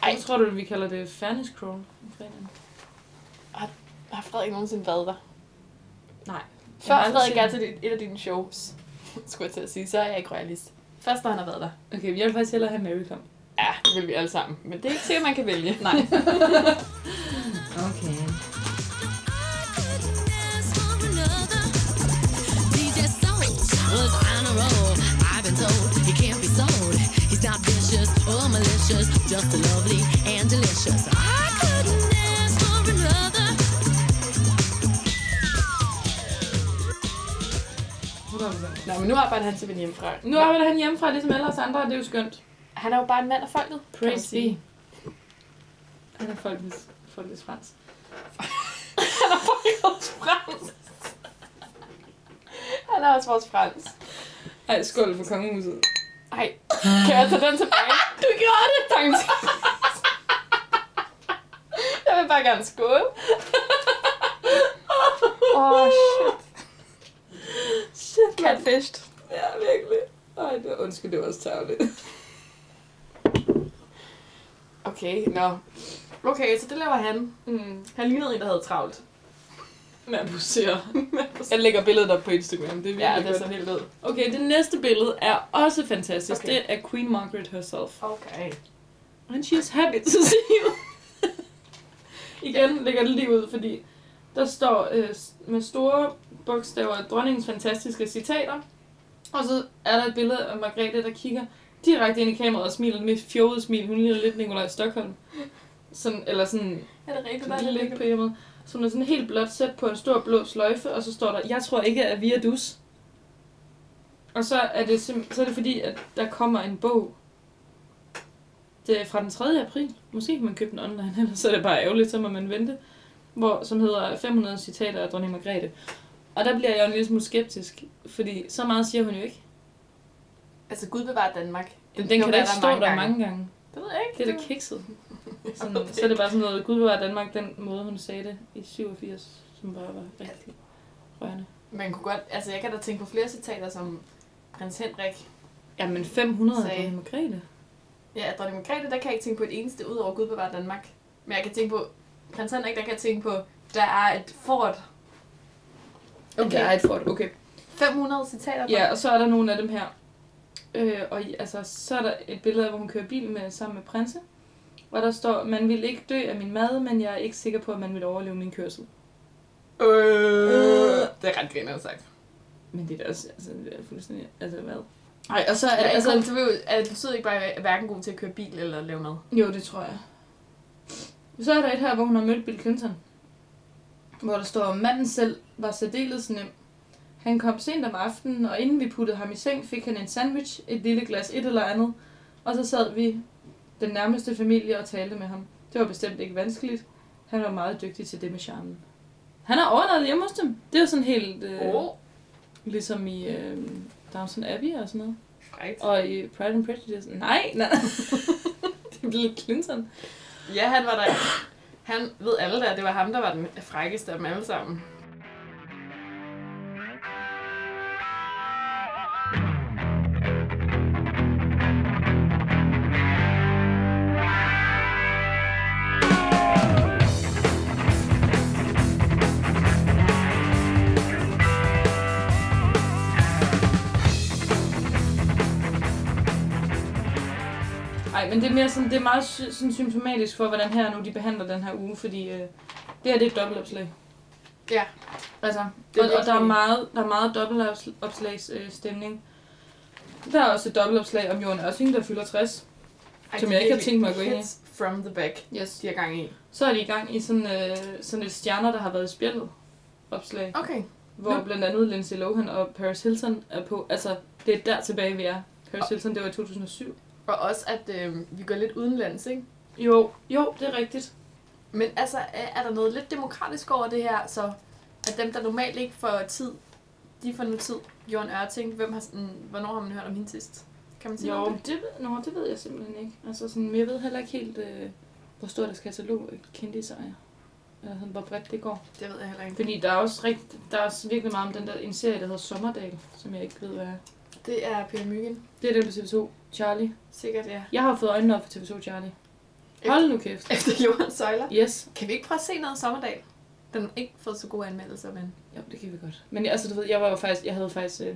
Speaker 3: Ej.
Speaker 1: Ej. tror du, vi kalder det fairness crawl? om fredagen?
Speaker 3: Har Frederik nogensinde været der?
Speaker 1: Nej.
Speaker 3: Før
Speaker 1: Jeg har aldrig
Speaker 3: Frederik
Speaker 1: set
Speaker 3: er til et af dine shows, skulle jeg til at sige, så er jeg ikke royalist. Først når han har været der.
Speaker 1: Okay, jeg vil faktisk hellere have Mary kom.
Speaker 3: Ja, det vil vi alle sammen. Men det er ikke sikkert, man kan vælge.
Speaker 1: Nej. okay.
Speaker 4: DJ Soul was on a roll. I've been told he can't be sold. He's not vicious or malicious, just lovely and delicious. I couldn't ask for another.
Speaker 3: Nå, men nu arbejder han simpelthen hjemmefra.
Speaker 1: Nu arbejder han hjemmefra, ligesom alle os andre, og det er jo skønt.
Speaker 3: Han er jo bare en mand af folket, kan man sige.
Speaker 1: Han er folkets, folkets frans.
Speaker 3: Han er faktisk også frans. Han er også vores frans.
Speaker 1: Ej, skål for kongehuset.
Speaker 3: Ej, kan jeg tage den tilbage?
Speaker 1: Du gjorde det!
Speaker 3: Thanks. Jeg vil bare gerne skåle. Åh, oh, shit.
Speaker 1: Shit, mand.
Speaker 3: Catfished.
Speaker 1: Ja, virkelig. Ej, det var, undskyld, det var også tærligt.
Speaker 3: Okay, nå. No. Okay, så det laver han.
Speaker 1: Mm.
Speaker 3: Han lignede en, der havde travlt.
Speaker 1: Man poserer. Man poserer. Jeg lægger billedet op på Instagram. Det er virkelig
Speaker 3: Ja, det er
Speaker 1: godt.
Speaker 3: så helt ud.
Speaker 1: Okay, det næste billede er også fantastisk.
Speaker 3: Okay.
Speaker 1: Okay. Det er Queen Margaret herself.
Speaker 3: Okay.
Speaker 1: And she is happy to see you. Igen lægger det lige ud, fordi der står øh, s- med store bogstaver dronningens fantastiske citater. Og så er der et billede af Margrethe, der kigger direkte ind i kameraet og smiler med fjollet smil. Hun ligner lidt Nikolaj Stockholm. Sådan, eller sådan
Speaker 3: Er det rigtigt, der er
Speaker 1: sådan lidt
Speaker 3: lidt
Speaker 1: på hjemmet. Så hun er sådan helt blåt sæt på en stor blå sløjfe, og så står der, jeg tror ikke, at vi er dus. Og så er det, sim- så er det fordi, at der kommer en bog. Det er fra den 3. april. Måske kan man købe den online, ellers så er det bare ærgerligt, så må man vente. Hvor, som hedder 500 citater af dronning Margrethe. Og der bliver jeg jo en lille smule skeptisk, fordi så meget siger hun jo ikke.
Speaker 3: Altså, Gud bevarer Danmark.
Speaker 1: Den, den kan da
Speaker 3: være
Speaker 1: ikke stå der mange gange.
Speaker 3: Det ved jeg ikke.
Speaker 1: Det er da kikset. Sådan,
Speaker 3: ved det
Speaker 1: så er det bare sådan noget, Gud bevarer Danmark, den måde hun sagde det i 87, som bare var rigtig rørende.
Speaker 3: Man kunne godt... Altså, jeg kan da tænke på flere citater, som prins Henrik.
Speaker 1: Jamen 500
Speaker 3: Sagde-
Speaker 1: af Margrethe.
Speaker 3: Ja, dronning Margrethe, der kan jeg ikke tænke på et eneste, udover Gud bevarer Danmark. Men jeg kan tænke på... Prins Henrik, der kan jeg tænke på, der er et fort. Okay.
Speaker 1: Der Altså, er et fort, okay.
Speaker 3: 500 citater. på-
Speaker 1: Ja, og så er der nogle af dem her. Øh, og i- altså, så er der et billede af, hvor hun kører bil med, sammen med prinse. Hvor der står, man vil ikke dø af min mad, men jeg er ikke sikker på, at man vil overleve min kørsel.
Speaker 3: Øh, det er ret griner sagt.
Speaker 1: Men det er da også altså, det er fuldstændig... Altså, hvad? Nej, og så er det...
Speaker 3: altså,
Speaker 1: Altså,
Speaker 3: det, vil, altså, det betyder ikke bare, at jeg er hverken god til at køre bil eller lave mad.
Speaker 1: jo, det tror jeg. Så er der et her, hvor hun har mødt Bill Clinton. Hvor der står, manden selv var særdeles nem. Han kom sent om aftenen, og inden vi puttede ham i seng, fik han en sandwich, et lille glas et eller andet, og så sad vi den nærmeste familie og talte med ham. Det var bestemt ikke vanskeligt. Han var meget dygtig til det med charmen. Han har overnattet hjemme hos dem. Det er jo sådan helt øh, oh. ligesom i øh, Downton Abbey og sådan noget.
Speaker 3: Frækt.
Speaker 1: Og i Pride and Prejudice. Nej, nej. det blev lidt Clinton.
Speaker 3: Ja, han var der. Han ved alle der, det var ham, der var den frækkeste af dem alle sammen.
Speaker 1: Nej, men det er mere sådan, det er meget sy- sådan symptomatisk for, hvordan her nu de behandler den her uge, fordi øh, det her det er et dobbeltopslag.
Speaker 3: Ja.
Speaker 1: Altså,
Speaker 3: Det er
Speaker 1: og, og der er
Speaker 3: virkelig-
Speaker 1: meget, der er meget dobbeltopslags øh, stemning. Der er også et dobbeltopslag om Jorden Ørsing, der fylder 60.
Speaker 3: Ej,
Speaker 1: Som
Speaker 3: de
Speaker 1: jeg ikke har
Speaker 3: virkelig
Speaker 1: tænkt mig at gå ind i.
Speaker 3: hits from the back,
Speaker 1: Yes.
Speaker 3: de er gang i.
Speaker 1: Så er de i gang i sådan, øh, sådan et stjerner, der har været i spjældet opslag,
Speaker 3: Okay.
Speaker 1: hvor
Speaker 3: Nå.
Speaker 1: blandt andet Lindsay Lohan og Paris Hilton er på. Altså, det er der tilbage, vi er. Paris Hilton, det var i 2007.
Speaker 3: Og også, at øh, vi går lidt udenlands, ikke?
Speaker 1: Jo, jo, det er rigtigt.
Speaker 3: Men altså, er er der noget lidt demokratisk over det her, så at dem, der normalt ikke får tid, de får nu tid. Jørgen Ørting, hvem har, sådan- hvornår har man hørt om hende sidst? Kan man sige
Speaker 1: Jo,
Speaker 3: noget om
Speaker 1: det, ved- nå, det ved jeg simpelthen ikke. Altså sådan, men jeg ved heller ikke helt, øh, hvor stor deres katalog af kendtiser er. Eller sådan, hvor bredt det går.
Speaker 3: det? Det ved jeg heller ikke.
Speaker 1: Fordi der er også, rigt, der er også virkelig meget om den der, en serie, der hedder Sommerdal, som jeg ikke ved, hvad er.
Speaker 3: Det er Peter Myggen.
Speaker 1: Det er den på TV2, Charlie.
Speaker 3: Sikkert, ja.
Speaker 1: Jeg har fået øjnene op for TV2, Charlie. Hold nu kæft.
Speaker 3: Efter Johan Søjler.
Speaker 1: Yes.
Speaker 3: Kan vi ikke prøve at se noget sommerdag? Den har ikke fået så gode anmeldelser, men...
Speaker 1: Jo, det kan vi godt. Men altså, du ved, jeg var jo faktisk, jeg havde faktisk, øh,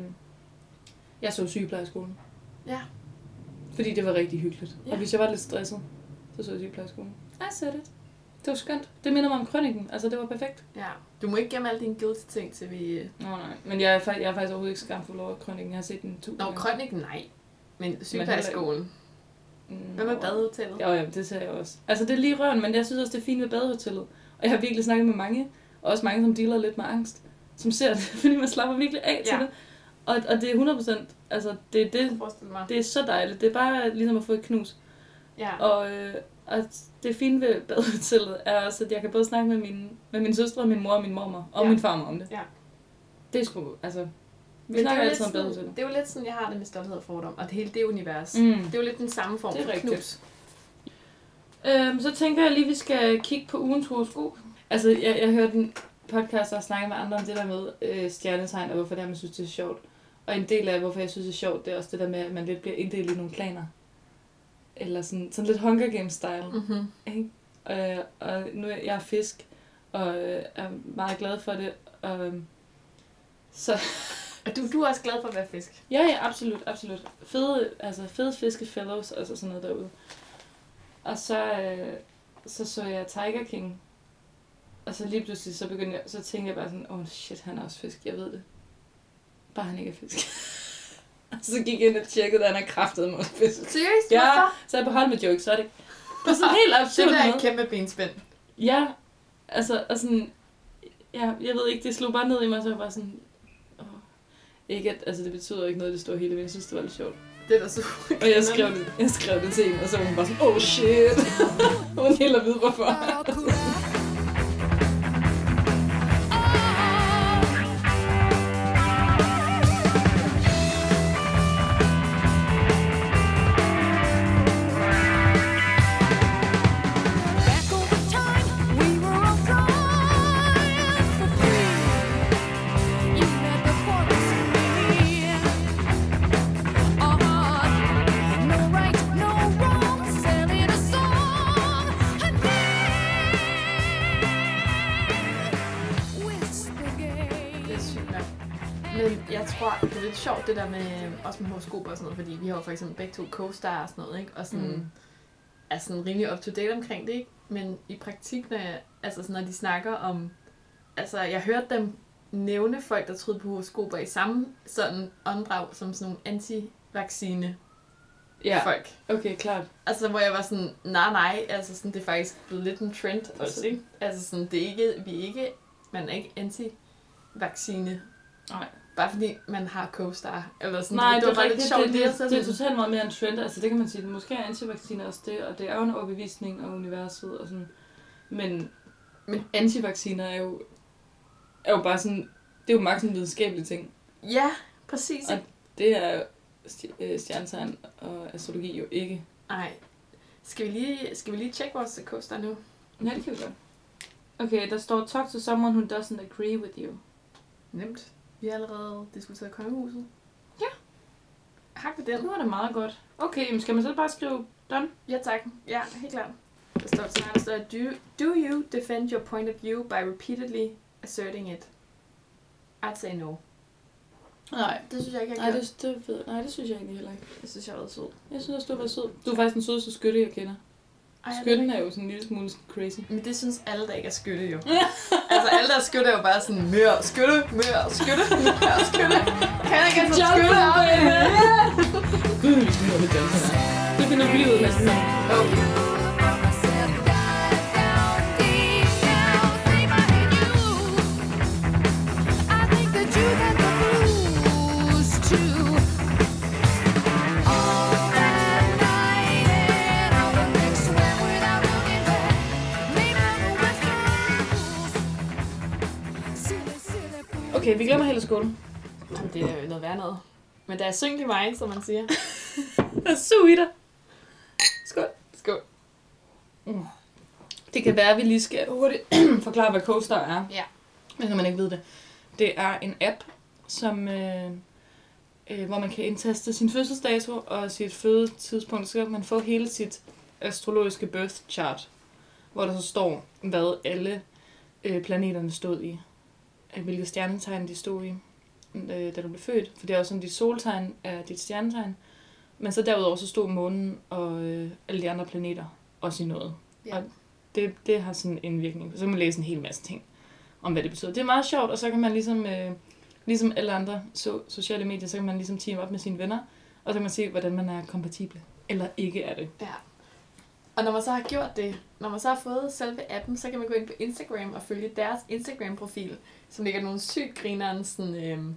Speaker 1: jeg så sygeplejerskolen.
Speaker 3: Ja.
Speaker 1: Fordi det var rigtig hyggeligt. Ja.
Speaker 3: Ja.
Speaker 1: Og hvis jeg var lidt stresset, så så jeg sygeplejerskolen. I said it. Det var skønt. Det minder mig om krønningen. Altså, det var perfekt.
Speaker 3: Ja. Du må ikke gemme alle dine guilty ting, til vi... øh,
Speaker 1: Nå nej, men jeg er, fakt- jeg er faktisk overhovedet ikke skamfuld over krønningen. Jeg har set den tusind
Speaker 3: Nå, krønningen, nej. Men sygeplejerskolen.
Speaker 1: Mm,
Speaker 3: Hvad med badehotellet?
Speaker 1: Ja, ja, det ser jeg også. Altså det er lige røven, men jeg synes også, det er fint ved badehotellet. Og jeg har virkelig snakket med mange, og også mange, som dealer lidt med angst, som ser det, fordi man slapper virkelig af ja.
Speaker 3: Ja.
Speaker 1: til det. Og, og det er 100%, altså det er
Speaker 3: Jeg
Speaker 1: det,
Speaker 3: forestiller mig.
Speaker 1: det er så dejligt. Det er bare ligesom at få et knus.
Speaker 3: Ja.
Speaker 1: Og, øh, og det fine ved badehotellet er også, at jeg kan både snakke med min, med min søstre, min mor og min mormor og
Speaker 3: Ja.
Speaker 1: ja. min farmor om det.
Speaker 3: Ja.
Speaker 1: Det er sgu, altså... Vi
Speaker 3: Men det er
Speaker 1: snakker
Speaker 3: jo lidt
Speaker 1: altid om
Speaker 3: sådan-
Speaker 1: badehotellet.
Speaker 3: Det er jo lidt sådan, jeg har det med stolthed og fordom, og det hele det univers. Mm.
Speaker 1: Mm.
Speaker 3: Det er jo lidt den samme form
Speaker 1: Det er
Speaker 3: for
Speaker 1: rigtigt.
Speaker 3: knus.
Speaker 1: Øhm, så tænker jeg lige, at vi skal kigge på ugens horoskop. Altså, jeg, jeg hørte en podcast, der snakkede med andre om det der med øh, stjernetegn, og hvorfor det er, man synes, det er sjovt. Og en del af, hvorfor jeg synes, det er sjovt, det er også det der med, at man lidt bliver inddelt i nogle planer. Eller sådan, sådan lidt Hunger Games-style.
Speaker 3: Mm-hmm.
Speaker 1: Øh, og nu er jeg er fisk, og øh, er meget glad for det. Og, øhm, så
Speaker 3: Og du, du er også glad for at være fisk.
Speaker 1: ja, ja, absolut, absolut. Fede, altså fede fiskefellows, altså sådan noget derude. Og så, øh, så så jeg Tiger King. Og så lige pludselig, så begyndte jeg, så tænkte jeg bare sådan, oh shit, han er også fisk, jeg ved det. Bare han ikke er fisk. og så gik jeg ind og tjekkede, at han er kraftet mod fisk.
Speaker 3: Seriøst?
Speaker 1: Ja,
Speaker 3: Hvorfor?
Speaker 1: så er jeg på hold med jokes, så er det på sådan en helt
Speaker 3: Det
Speaker 1: absurd
Speaker 3: der er
Speaker 1: måde.
Speaker 3: et kæmpe benspænd.
Speaker 1: Ja, altså, og sådan, ja, jeg ved ikke, det slog bare ned i mig, så jeg var sådan, åh. Ikke at, altså det betyder ikke noget, det står hele, men jeg synes, det var lidt sjovt.
Speaker 3: Det er da så
Speaker 1: Og jeg skrev det, jeg skrev det til hende, og så var hun bare sådan, oh shit. hun ville hellere vide, hvorfor.
Speaker 5: Back over time, we were all flying for free. You had the forest in me. Oh, no right, no wrong, selling a song. And then, whisper
Speaker 3: Det er
Speaker 5: gay.
Speaker 3: sygt nok. Men jeg tror, det er lidt sjovt, det der med, øh, også med horoskoper og sådan noget, fordi vi har jo for eksempel begge to co-star og sådan noget, ikke? Og sådan, mm.
Speaker 1: Mm.
Speaker 3: er sådan rimelig up-to-date omkring det, ikke? Men i praktik, når, jeg, altså sådan, når de snakker om, altså jeg hørte dem nævne folk, der troede på horoskoper i samme sådan åndedrag, som sådan nogle anti-vaccine
Speaker 1: Ja,
Speaker 3: folk.
Speaker 1: okay, klart.
Speaker 3: Altså, hvor jeg var sådan, nej, nej, altså sådan, det er faktisk blevet lidt en trend også, ikke? Altså sådan, det er ikke, vi er ikke, man er ikke anti-vaccine.
Speaker 1: Nej.
Speaker 3: Bare fordi man har co-star, eller sådan,
Speaker 1: Nej, det,
Speaker 3: var
Speaker 1: det,
Speaker 3: bare
Speaker 1: er
Speaker 3: lidt
Speaker 1: rigtigt,
Speaker 3: sjovt,
Speaker 1: det, det, det, det, er
Speaker 3: sådan,
Speaker 1: totalt meget mere en trend. Altså det kan man sige, måske er antivacciner også det, og det er jo en overbevisning og universet og sådan. Men, men antivacciner er jo, er jo bare sådan, det er jo maks en videnskabelig ting.
Speaker 3: Ja, præcis,
Speaker 1: Og-
Speaker 3: ikke?
Speaker 1: Det er st- øh, stjernetegn og astrologi jo ikke.
Speaker 3: Nej. Skal vi lige, skal vi lige tjekke vores co-star nu?
Speaker 1: Nej, det kan vi godt. Okay, der står, talk to someone who doesn't agree with you.
Speaker 3: Nemt. Vi har allerede diskuteret kongehuset.
Speaker 1: Ja.
Speaker 3: Hak ved
Speaker 1: Ja,
Speaker 3: den.
Speaker 1: nu er det meget godt. Okay, men skal man så bare skrive done?
Speaker 3: Ja, tak. Ja, helt klart. Der står sådan her, der står, do, do you defend your point of view by repeatedly asserting it? I'd say no.
Speaker 1: Nej.
Speaker 3: Det synes jeg ikke, jeg
Speaker 1: Nej,
Speaker 3: gjorde.
Speaker 1: det, det ved, nej, det synes jeg egentlig heller ikke.
Speaker 3: det synes jeg var sød.
Speaker 1: Jeg synes også, du var sød. Du er faktisk den sødeste skytte, jeg kender.
Speaker 3: Ej,
Speaker 1: Skytten er jo sådan en lille smule crazy.
Speaker 3: Men det synes alle, der ikke er skytte, jo. altså, alle, der er skytte, er jo bare sådan, mør, skytte, mør, skytte, mør, skytte. Kan jeg ikke altså skytte op?
Speaker 1: Gud, vi skal nå det danse. Det finder vi lige ud af.
Speaker 3: Okay.
Speaker 1: Okay, vi glemmer hele skolen.
Speaker 3: Jamen, det er jo noget værd noget. Men der er synk i mig, som man siger.
Speaker 1: Sug i dig. Skål.
Speaker 3: Skål.
Speaker 1: Mm. Det kan være, at vi lige skal hurtigt forklare, hvad CoStar er.
Speaker 3: Ja.
Speaker 1: Men kan man ikke vide det. Det er en app, som, øh, øh, hvor man kan indtaste sin fødselsdato og sit fødetidspunkt, så kan man få hele sit astrologiske birth chart, hvor der så står, hvad alle øh, planeterne stod i. Øh, Hvilke stjernetegn de stod i, øh, da du blev født. For det er også sådan, dit soltegn er dit stjernetegn. Men så derudover så stod månen og øh, alle de andre planeter også i noget.
Speaker 3: Ja.
Speaker 1: Og det, det har sådan en virkning. Så kan man læse en hel masse ting om, hvad det betyder. Det er meget sjovt, og så kan man ligesom, øh, ligesom alle andre so- sociale medier, så kan man ligesom team op med sine venner, og så kan man se, hvordan man er kompatible eller ikke er det.
Speaker 3: Ja. Og når man så har gjort det, når man så har fået selve appen, så kan man gå ind på Instagram og følge deres Instagram-profil, som ligger nogle sygt grineren sådan, øhm,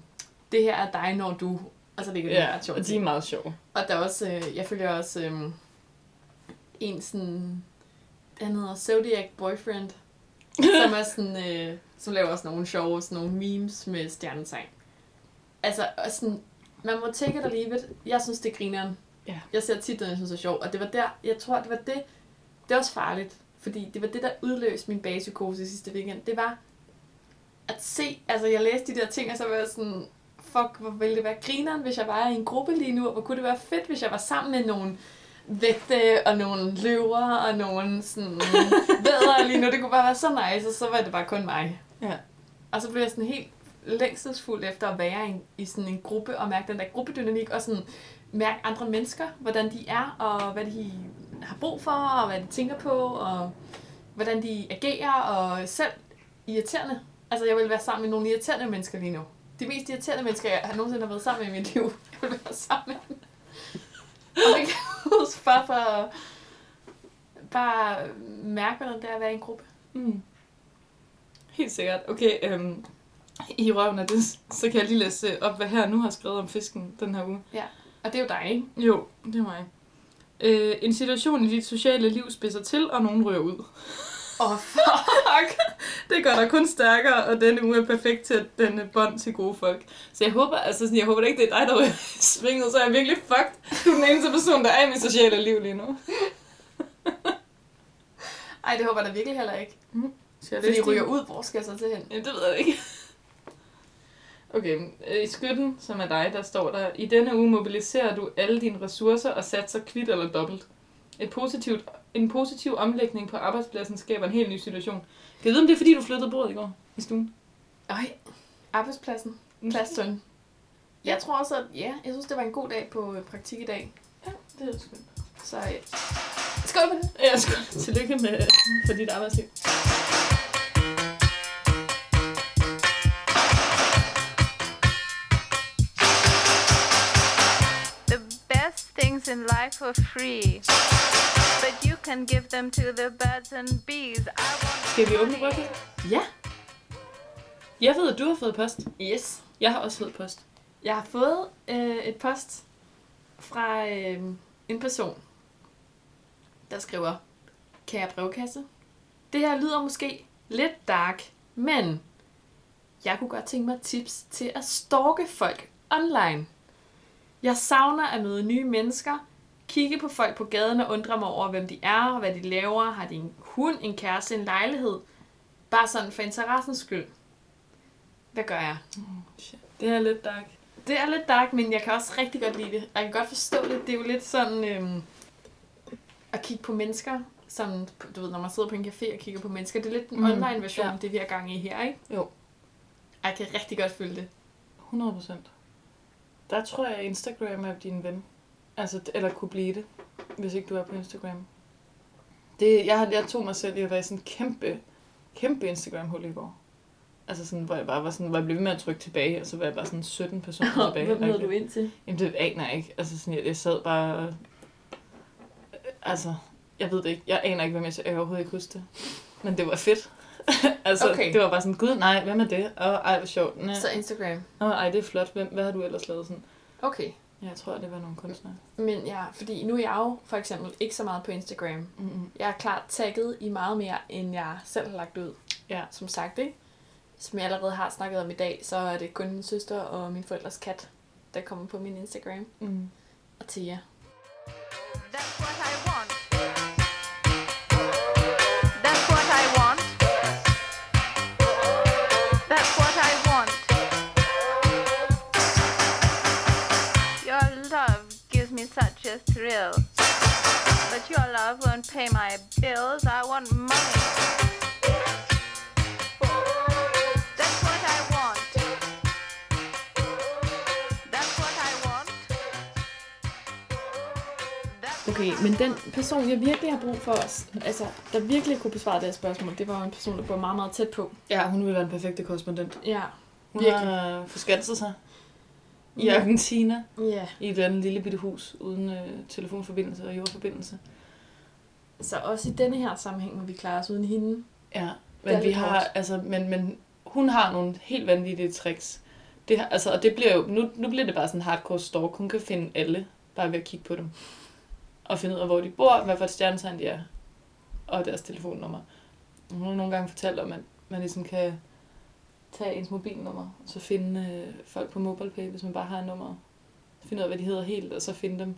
Speaker 3: det her er dig, når du... Og så ligger det
Speaker 1: Ja,
Speaker 3: ret sjovt.
Speaker 1: og de er meget sjove.
Speaker 3: Og der er også, øh, jeg følger også øhm, en sådan, han hedder Zodiac Boyfriend, som er sådan, øh, som laver sådan nogle sjove, sådan nogle memes med stjernetegn. Altså, og sådan, man må take it or leave it. Jeg synes, det er grineren.
Speaker 1: Ja.
Speaker 3: Jeg ser tit, noget, jeg synes er sjov, og det var der, jeg tror, det var det, det er også farligt, fordi det var det, der udløste min bagepsykose sidste weekend. Det var at se, altså jeg læste de der ting, og så var jeg sådan, fuck, hvor ville det være grineren, hvis jeg var i en gruppe lige nu, og hvor kunne det være fedt, hvis jeg var sammen med nogle vægte og nogle løver og nogle sådan vædder lige nu. Det kunne bare være så nice, og så var det bare kun mig.
Speaker 1: Ja.
Speaker 3: Og så blev jeg sådan helt længselsfuld efter at være i, en- i sådan en gruppe og mærke den der gruppedynamik og sådan mærke andre mennesker, hvordan de er og hvad de har brug for og hvad de tænker på og hvordan de agerer og selv irriterende. Altså jeg vil være sammen med nogle irriterende mennesker lige nu. De mest irriterende mennesker, jeg har nogensinde har været sammen med i mit liv. Jeg vil være sammen med dem. Og jeg kan huske bare for bare mærke, hvordan det er at være i en gruppe.
Speaker 1: Mm. Helt sikkert. Okay, øhm, i røven af det, så kan jeg lige læse øh, op, hvad her nu har skrevet om fisken den her uge.
Speaker 3: Og det er jo dig, ikke?
Speaker 1: Jo, det er mig. Øh, en situation i dit sociale liv spidser til, og nogen rører ud.
Speaker 3: Åh, oh, fuck!
Speaker 1: Det gør dig kun stærkere, og denne uge er perfekt til at denne bånd til gode folk. Så jeg håber, altså sådan, jeg håber da ikke, det er dig, der ryger i svinget, så er jeg virkelig fucked. Du er den eneste person, der er i mit sociale liv lige nu.
Speaker 3: Ej, det håber jeg da virkelig heller ikke.
Speaker 1: Så jeg
Speaker 3: Fordi de
Speaker 1: læste
Speaker 3: ryger ud, hvor skal jeg så til hen?
Speaker 1: Ja, det ved jeg ikke. Okay, øh, i skytten, som er dig, der står der, i denne uge mobiliserer du alle dine ressourcer og satser kvidt eller dobbelt. Et positivt, en positiv omlægning på arbejdspladsen skaber en helt ny situation. Kan jeg vide, om det er, fordi du flyttede bordet i går i stuen?
Speaker 3: Ej, arbejdspladsen. Pladsen. Jeg tror også, at Mm. ja, jeg synes, det var en god dag på øh, praktik i dag.
Speaker 1: Det er skønt.
Speaker 3: Så øh, skål på det.
Speaker 1: Ja, skønt. Tillykke med, øh, for dit arbejdsliv.
Speaker 5: The best things in life are free, but you can give them to the birds and bees. I want
Speaker 1: Skal vi åbne brygget?
Speaker 3: Ja.
Speaker 1: Jeg ved, at du har fået post.
Speaker 3: Yes.
Speaker 1: Jeg har også fået post.
Speaker 3: Jeg har fået øh, et post fra øh, en person, der skriver, kære brevkasse, det her lyder måske lidt dark, men jeg kunne godt tænke mig tips til at stalke folk online. Jeg savner at møde nye mennesker, kigge på folk på gaden og undre mig over, hvem de er og hvad de laver. Har de en hund, en kæreste, en lejlighed? Bare sådan for interessens skyld. Hvad gør jeg?
Speaker 1: Det er lidt dark.
Speaker 3: Det er lidt dark, men jeg kan også rigtig godt lide det. Og jeg kan godt forstå det. Det er jo lidt sådan øhm, at kigge på mennesker, som, du ved, når man sidder på en café og kigger på mennesker. Det er lidt en
Speaker 1: Mm,
Speaker 3: mm, online version,
Speaker 1: ja.
Speaker 3: ja. det vi har gang i her, ikke?
Speaker 1: Jo.
Speaker 3: Jeg kan rigtig godt følge det.
Speaker 1: 100 procent. Der tror jeg, at Instagram er din ven. Altså, d- eller kunne blive det, hvis ikke du er på Instagram. Det, jeg, har- jeg tog mig selv i at være i sådan en kæmpe, kæmpe Instagram-hul i går. Altså sådan, hvor jeg bare var sådan, hvor jeg blev ved med at trykke tilbage, og så var jeg bare sådan 17 personer tilbage. Agtigt.
Speaker 3: ind til?
Speaker 1: Jamen, det aner jeg ikke. Altså, sådan, jeg, jeg sad bare... og- Altså, jeg ved det ikke. Jeg aner ikke, hvem jeg så... Jeg kan overhovedet ikke huske det. Men det var fedt. altså, okay.
Speaker 3: Okay.
Speaker 1: det var bare sådan, gud nej, hvem er det? Åh, ej, hvor sjovt. Næ.
Speaker 3: Så Instagram.
Speaker 1: Åh, ej, det er flot. Hvem, hvad har du ellers lavet sådan?
Speaker 3: Okay.
Speaker 1: Ja, Jeg tror, det var nogle kunstnere.
Speaker 3: Men ja, fordi nu er jeg jo for eksempel ikke så meget på Instagram.
Speaker 1: Mm-hmm.
Speaker 3: Jeg er klart tagget i meget mere, end jeg selv har lagt ud.
Speaker 1: Ja.
Speaker 3: Som sagt, ikke? Som jeg allerede har snakket om i dag, så er det kun min søster og min forældres kat, der kommer på min Instagram.
Speaker 1: Mm.
Speaker 3: Og Thea.
Speaker 5: That's what I want. That's what I want. That's what I want. Your love gives me such a thrill. But your love won't pay my bills. I want money. That's what I want. That's what I want. That's
Speaker 3: Okay, men den person, jeg virkelig har brug for, altså, der virkelig kunne besvare det her spørgsmål, det var jo en person, der bor meget, meget tæt på.
Speaker 1: Ja, hun vil være den perfekte korrespondent.
Speaker 3: Ja.
Speaker 1: Hun
Speaker 3: Virkelig.
Speaker 1: har øh, forskanset sig i
Speaker 3: Ja.
Speaker 1: Argentina.
Speaker 3: Ja.
Speaker 1: I et eller andet lille bitte hus uden øh, telefonforbindelse og jordforbindelse.
Speaker 3: Så også i denne her sammenhæng må vi klare os uden hende.
Speaker 1: Ja,
Speaker 3: Det er
Speaker 1: men vi
Speaker 3: lidt
Speaker 1: har,
Speaker 3: hårdt.
Speaker 1: altså, men, men hun har nogle helt vanvittige tricks. Det, har- altså, og det bliver jo, nu, nu bliver det bare sådan hardcore stalk. Hun kan finde alle, bare ved at kigge på dem. og finde ud af, hvor de bor, hvad for et stjernetegn de er, og deres telefonnummer. Hun har nogle gange fortalt om, at man ligesom kan tage ens mobilnummer, og så finde øh, folk på MobilePay, hvis man bare har nummeret. Finde ud af, hvad de hedder helt, og så finde dem.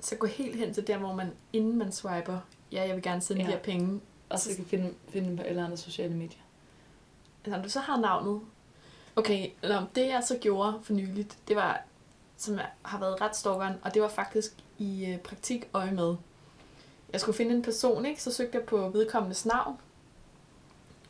Speaker 3: Så gå helt hen til der, hvor man, inden man swiper, ja, jeg vil gerne sende ja. de
Speaker 1: Ja.
Speaker 3: her penge.
Speaker 1: Og så kan finde, finde dem på alle andre sociale medier.
Speaker 3: Når du så har navnet. Okay, nå, det jeg så gjorde for nyligt, det var, som jeg har været ret stalkeren, og det var faktisk i øh, praktik øje med. Jeg skulle finde en person, ikke? Så søgte jeg på vedkommendes navn.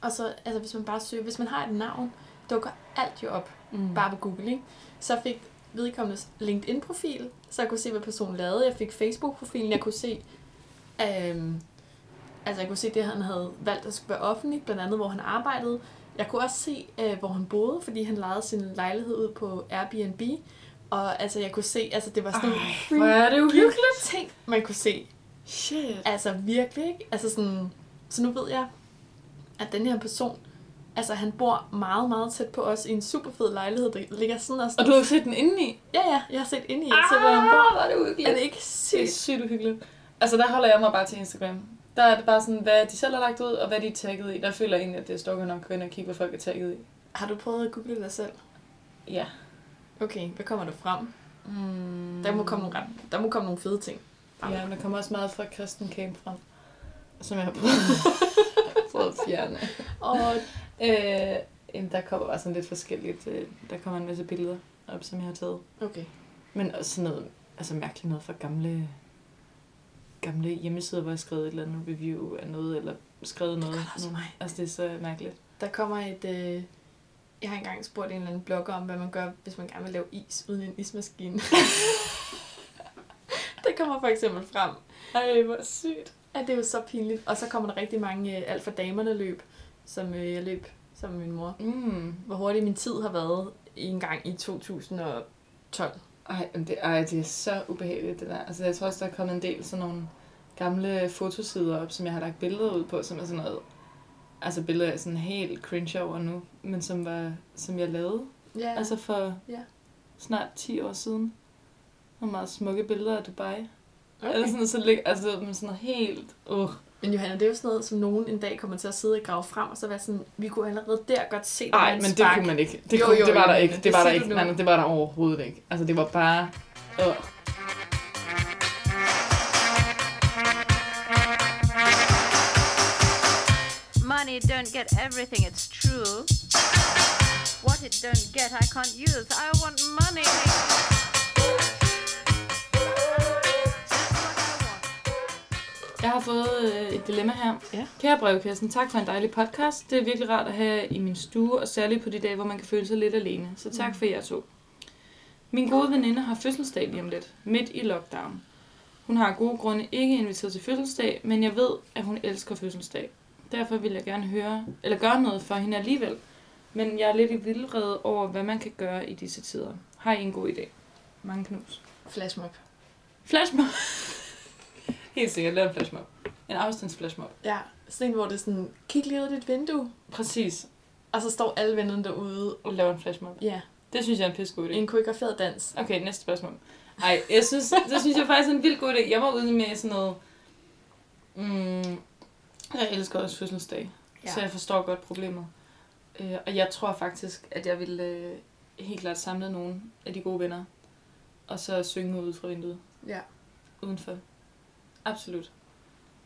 Speaker 3: Og så, altså hvis man bare søger, hvis man har et navn, dukker alt jo op.
Speaker 1: Mm.
Speaker 3: bare ved Google, ikke? Så jeg fik vedkommendes LinkedIn-profil, så jeg kunne se, hvad personen lavede. Jeg fik Facebook-profilen, jeg kunne se, øhm, altså jeg kunne se det, han havde valgt at skulle være offentligt, blandt andet, hvor han arbejdede. Jeg kunne også se, øh, hvor han boede, fordi han lejede sin lejlighed ud på Airbnb. Og altså, jeg kunne se, altså det var sådan nogle
Speaker 1: Hvor er det uhyggeligt.
Speaker 3: freaking ting, man kunne se.
Speaker 1: Shit.
Speaker 3: Altså virkelig, ikke? Altså sådan, så nu ved jeg, at den her person, altså han bor meget, meget tæt på os i en super fed lejlighed, der ligger sådan og sådan.
Speaker 1: Og du har jo set den indeni.
Speaker 3: Ja, ja, jeg har set ind i et, så hvor han bor.
Speaker 1: Ah, hvor er det
Speaker 3: Er
Speaker 1: uhyggeligt.
Speaker 3: det ikke
Speaker 1: Det er
Speaker 3: sygt?
Speaker 1: sygt uhyggeligt. Altså, der holder jeg mig bare til Instagram. Der er det bare sådan, hvad de selv har lagt ud, og hvad de er tagget i. Der føler jeg egentlig, at det er stalker nok at gå ind og kigge, hvad folk er tagget i.
Speaker 3: Har du prøvet at google dig selv?
Speaker 1: Ja.
Speaker 3: Okay, hvad kommer der frem? Mm. Der, må komme nogle, ret- der må komme nogle fede ting.
Speaker 1: Ja, men der kommer også meget fra Kristen Camp frem, som jeg har prøvet, prøvet at fjerne.
Speaker 3: Og
Speaker 1: Øh, jamen, der kommer bare sådan lidt forskelligt. øh, Der kommer en masse billeder op, som jeg har taget.
Speaker 3: okay.
Speaker 1: Men også sådan noget, altså mærkeligt noget fra gamle, gamle hjemmesider, hvor jeg skrev et eller andet review af noget, eller skrevet noget.
Speaker 3: gør det også
Speaker 1: Mm.
Speaker 3: mig.
Speaker 1: Altså, det er så mærkeligt.
Speaker 3: Der kommer et... Øh, jeg har engang spurgt en eller anden blogger om, hvad man gør, hvis man gerne vil lave is uden en ismaskine. det kommer for eksempel frem.
Speaker 1: Ej, hvor sygt.
Speaker 3: Ja, det er jo så pinligt. Og så kommer der rigtig mange øh, alt for damerne løb, som øh, jeg løb som min mor.
Speaker 1: Mm.
Speaker 3: Hvor hurtigt min tid har været en gang i 2012.
Speaker 1: Ej, men det, ej, det er så ubehageligt, det der. Altså, jeg tror også, der er kommet en del sådan nogle gamle fotosider op, som jeg har lagt billeder ud på, som er sådan noget... Altså billeder, jeg sådan helt cringe over nu, men som, var, som jeg lavede.
Speaker 3: Ja,
Speaker 1: Ja. Altså for
Speaker 3: Ja.
Speaker 1: snart 10 år siden. Nogle meget smukke billeder af Dubai. Okay.
Speaker 3: okay.
Speaker 1: Eller sådan, så ligger, altså, men sådan noget helt... Uh.
Speaker 3: Men Johanna, det er jo sådan noget, som nogen en dag kommer til at sidde og grave frem, og så være sådan, vi kunne allerede der godt se, at
Speaker 1: Nej,
Speaker 3: han
Speaker 1: men det
Speaker 3: spark."
Speaker 1: kunne man ikke. Det,
Speaker 3: Jo,
Speaker 1: jo, kunne,
Speaker 3: jo,
Speaker 1: jo, det var
Speaker 3: jo,
Speaker 1: der
Speaker 3: men
Speaker 1: ikke.
Speaker 3: det
Speaker 1: Det var der
Speaker 3: siger
Speaker 1: ikke.
Speaker 3: du nu.
Speaker 1: Nej, nej, det var der overhovedet ikke. Altså, det var bare... Uh.
Speaker 5: Money don't get everything, it's true. What it don't get, I can't use. I want money. That's what I want.
Speaker 6: Jeg har fået øh, et dilemma her.
Speaker 3: Ja.
Speaker 6: Kære brevkassen, tak for en dejlig podcast. Det er virkelig rart at have i min stue, og særligt på de dage, hvor man kan føle sig lidt alene. Så tak for jer to. Min gode veninde har fødselsdag lige om lidt, midt i lockdown. Hun har af gode grunde ikke inviteret til fødselsdag, men jeg ved, at hun elsker fødselsdag. Derfor vil jeg gerne høre, eller gøre noget for hende alligevel. Men jeg er lidt i vildrede over, hvad man kan gøre i disse tider. Har I en god idé? Mange knus.
Speaker 3: Flashmob.
Speaker 6: Flashmob!
Speaker 1: Helt sikkert, lav en flashmob. En afstandsflashmob.
Speaker 3: Ja, sådan en, hvor det er sådan, kig lige ud af dit vindue,
Speaker 1: Præcis.
Speaker 3: og så står alle vennerne derude.
Speaker 1: Lav en flashmob.
Speaker 3: Ja,
Speaker 1: Det synes jeg er en pisse god idé.
Speaker 3: en koreograferet dans.
Speaker 1: Okay, næste spørgsmål. Ej, jeg synes, det synes jeg faktisk er en vild god idé. Jeg var ude med sådan noget... Mm, jeg elsker også fødselsdag, ja. så jeg forstår godt problemet. Øh, og jeg tror faktisk, at jeg ville øh, helt klart samle nogle af de gode venner, og så synge ud fra vinduet
Speaker 3: Ja.
Speaker 1: udenfor. Absolut.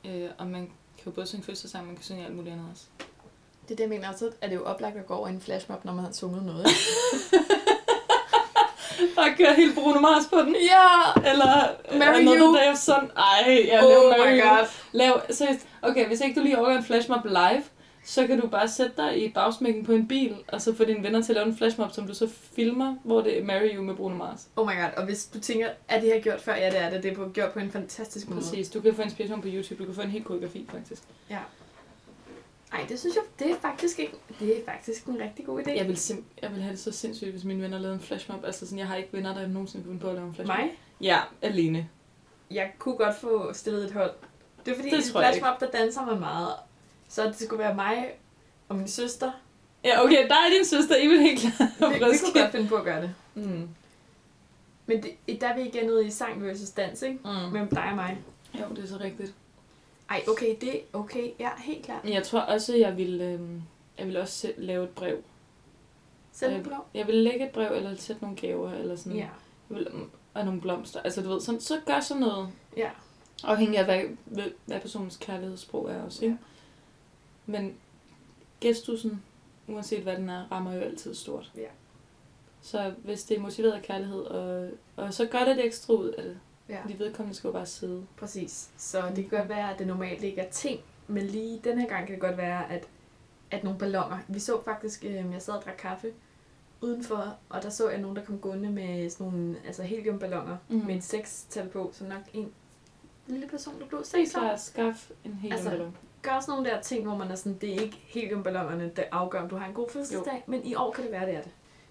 Speaker 1: Øh, og man kan jo både synge fødselsdag, man kan synge alt muligt andet også.
Speaker 3: Det er det, jeg mener. Og Så er det jo oplagt at gå over i en flashmob, når man har sunget noget. ikke?
Speaker 1: Og køre helt Bruno Mars på den.
Speaker 3: ja!
Speaker 1: Eller
Speaker 3: Marry
Speaker 1: Another
Speaker 3: You.
Speaker 1: Day of Sun. Ej, jeg
Speaker 3: oh
Speaker 1: laver
Speaker 3: my
Speaker 1: Marry You.
Speaker 3: god.
Speaker 1: Lav, seriøst. Okay, hvis ikke du lige overgår en flashmob live, så kan du bare sætte dig i bagsmækken på en bil, og så få dine venner til at lave en flashmob, som du så filmer, hvor det er Marry You med Bruno Mars.
Speaker 3: Oh my god. Og hvis du tænker, er det her gjort før? Ja, det er det. Det er på, gjort på en fantastisk måde.
Speaker 1: Præcis. Du kan få inspiration på YouTube. Du kan få en helt koreografi, faktisk.
Speaker 3: Nej, det synes jeg, det er faktisk ikke, det er faktisk en rigtig god idé.
Speaker 1: Jeg vil, sim- jeg vil have det så sindssygt, hvis mine venner lavede en flashmob. Altså sådan, jeg har ikke venner, der nogensinde kunne finde på at lave en flashmob.
Speaker 3: Mig?
Speaker 1: Ja, alene.
Speaker 3: Jeg kunne godt få stillet et hold. Det er fordi,
Speaker 1: Det
Speaker 3: det i
Speaker 1: tror jeg
Speaker 3: flashmob, der danser man meget. Så det skulle være mig og min søster.
Speaker 1: Ja, okay, dig og din søster, I vil helt klart
Speaker 3: Vi, vi kunne godt finde på at gøre det.
Speaker 1: mm.
Speaker 3: Men det, der er vi igen ude i sang versus dans, ikke?
Speaker 1: Mm.
Speaker 3: Mellem dig og mig.
Speaker 6: Jo, det er så rigtigt.
Speaker 3: Ej, okay, det er okay. Ja, helt klart.
Speaker 6: Men jeg tror også, at jeg ville,
Speaker 1: øhm,
Speaker 6: øh, jeg ville også selv lave et brev.
Speaker 3: Send et
Speaker 6: Øh,
Speaker 3: brev.
Speaker 6: Jeg ville lægge et brev, eller sætte nogle gaver, eller sådan.
Speaker 3: Ja.
Speaker 6: Jeg ville, mm, og nogle blomster. Altså, du ved, sådan, så gør sådan noget.
Speaker 3: Ja.
Speaker 6: Afhængig af, hvad, hvad, hvad personens kærlighedssprog er også, ikke? Men gestusen, uanset hvad den er, rammer jo altid stort.
Speaker 3: Ja.
Speaker 6: Så hvis det er motiveret af kærlighed, og, og så gør det det ekstra ud af det.
Speaker 3: Ja,
Speaker 6: Fordi vedkommende skal jo bare sidde.
Speaker 3: præcis. Så det kan godt være, at det normalt ikke er ting, men lige den her gang kan det godt være, at, at nogle ballonger. Vi så faktisk, øh, jeg sad og drak kaffe udenfor, og der så jeg nogen, der kom gående med sådan nogle altså heliumballoner
Speaker 6: Mm.
Speaker 3: med et sekstal på, så nok en lille person, der blev seks
Speaker 6: Så
Speaker 3: år.
Speaker 6: at skaffe en hel
Speaker 3: Altså,
Speaker 6: altså,
Speaker 3: Gør sådan nogle der ting, hvor man er sådan, det er ikke heliumballongerne, der afgør, om du har en god fødselsdag, men i år kan det være, det er det.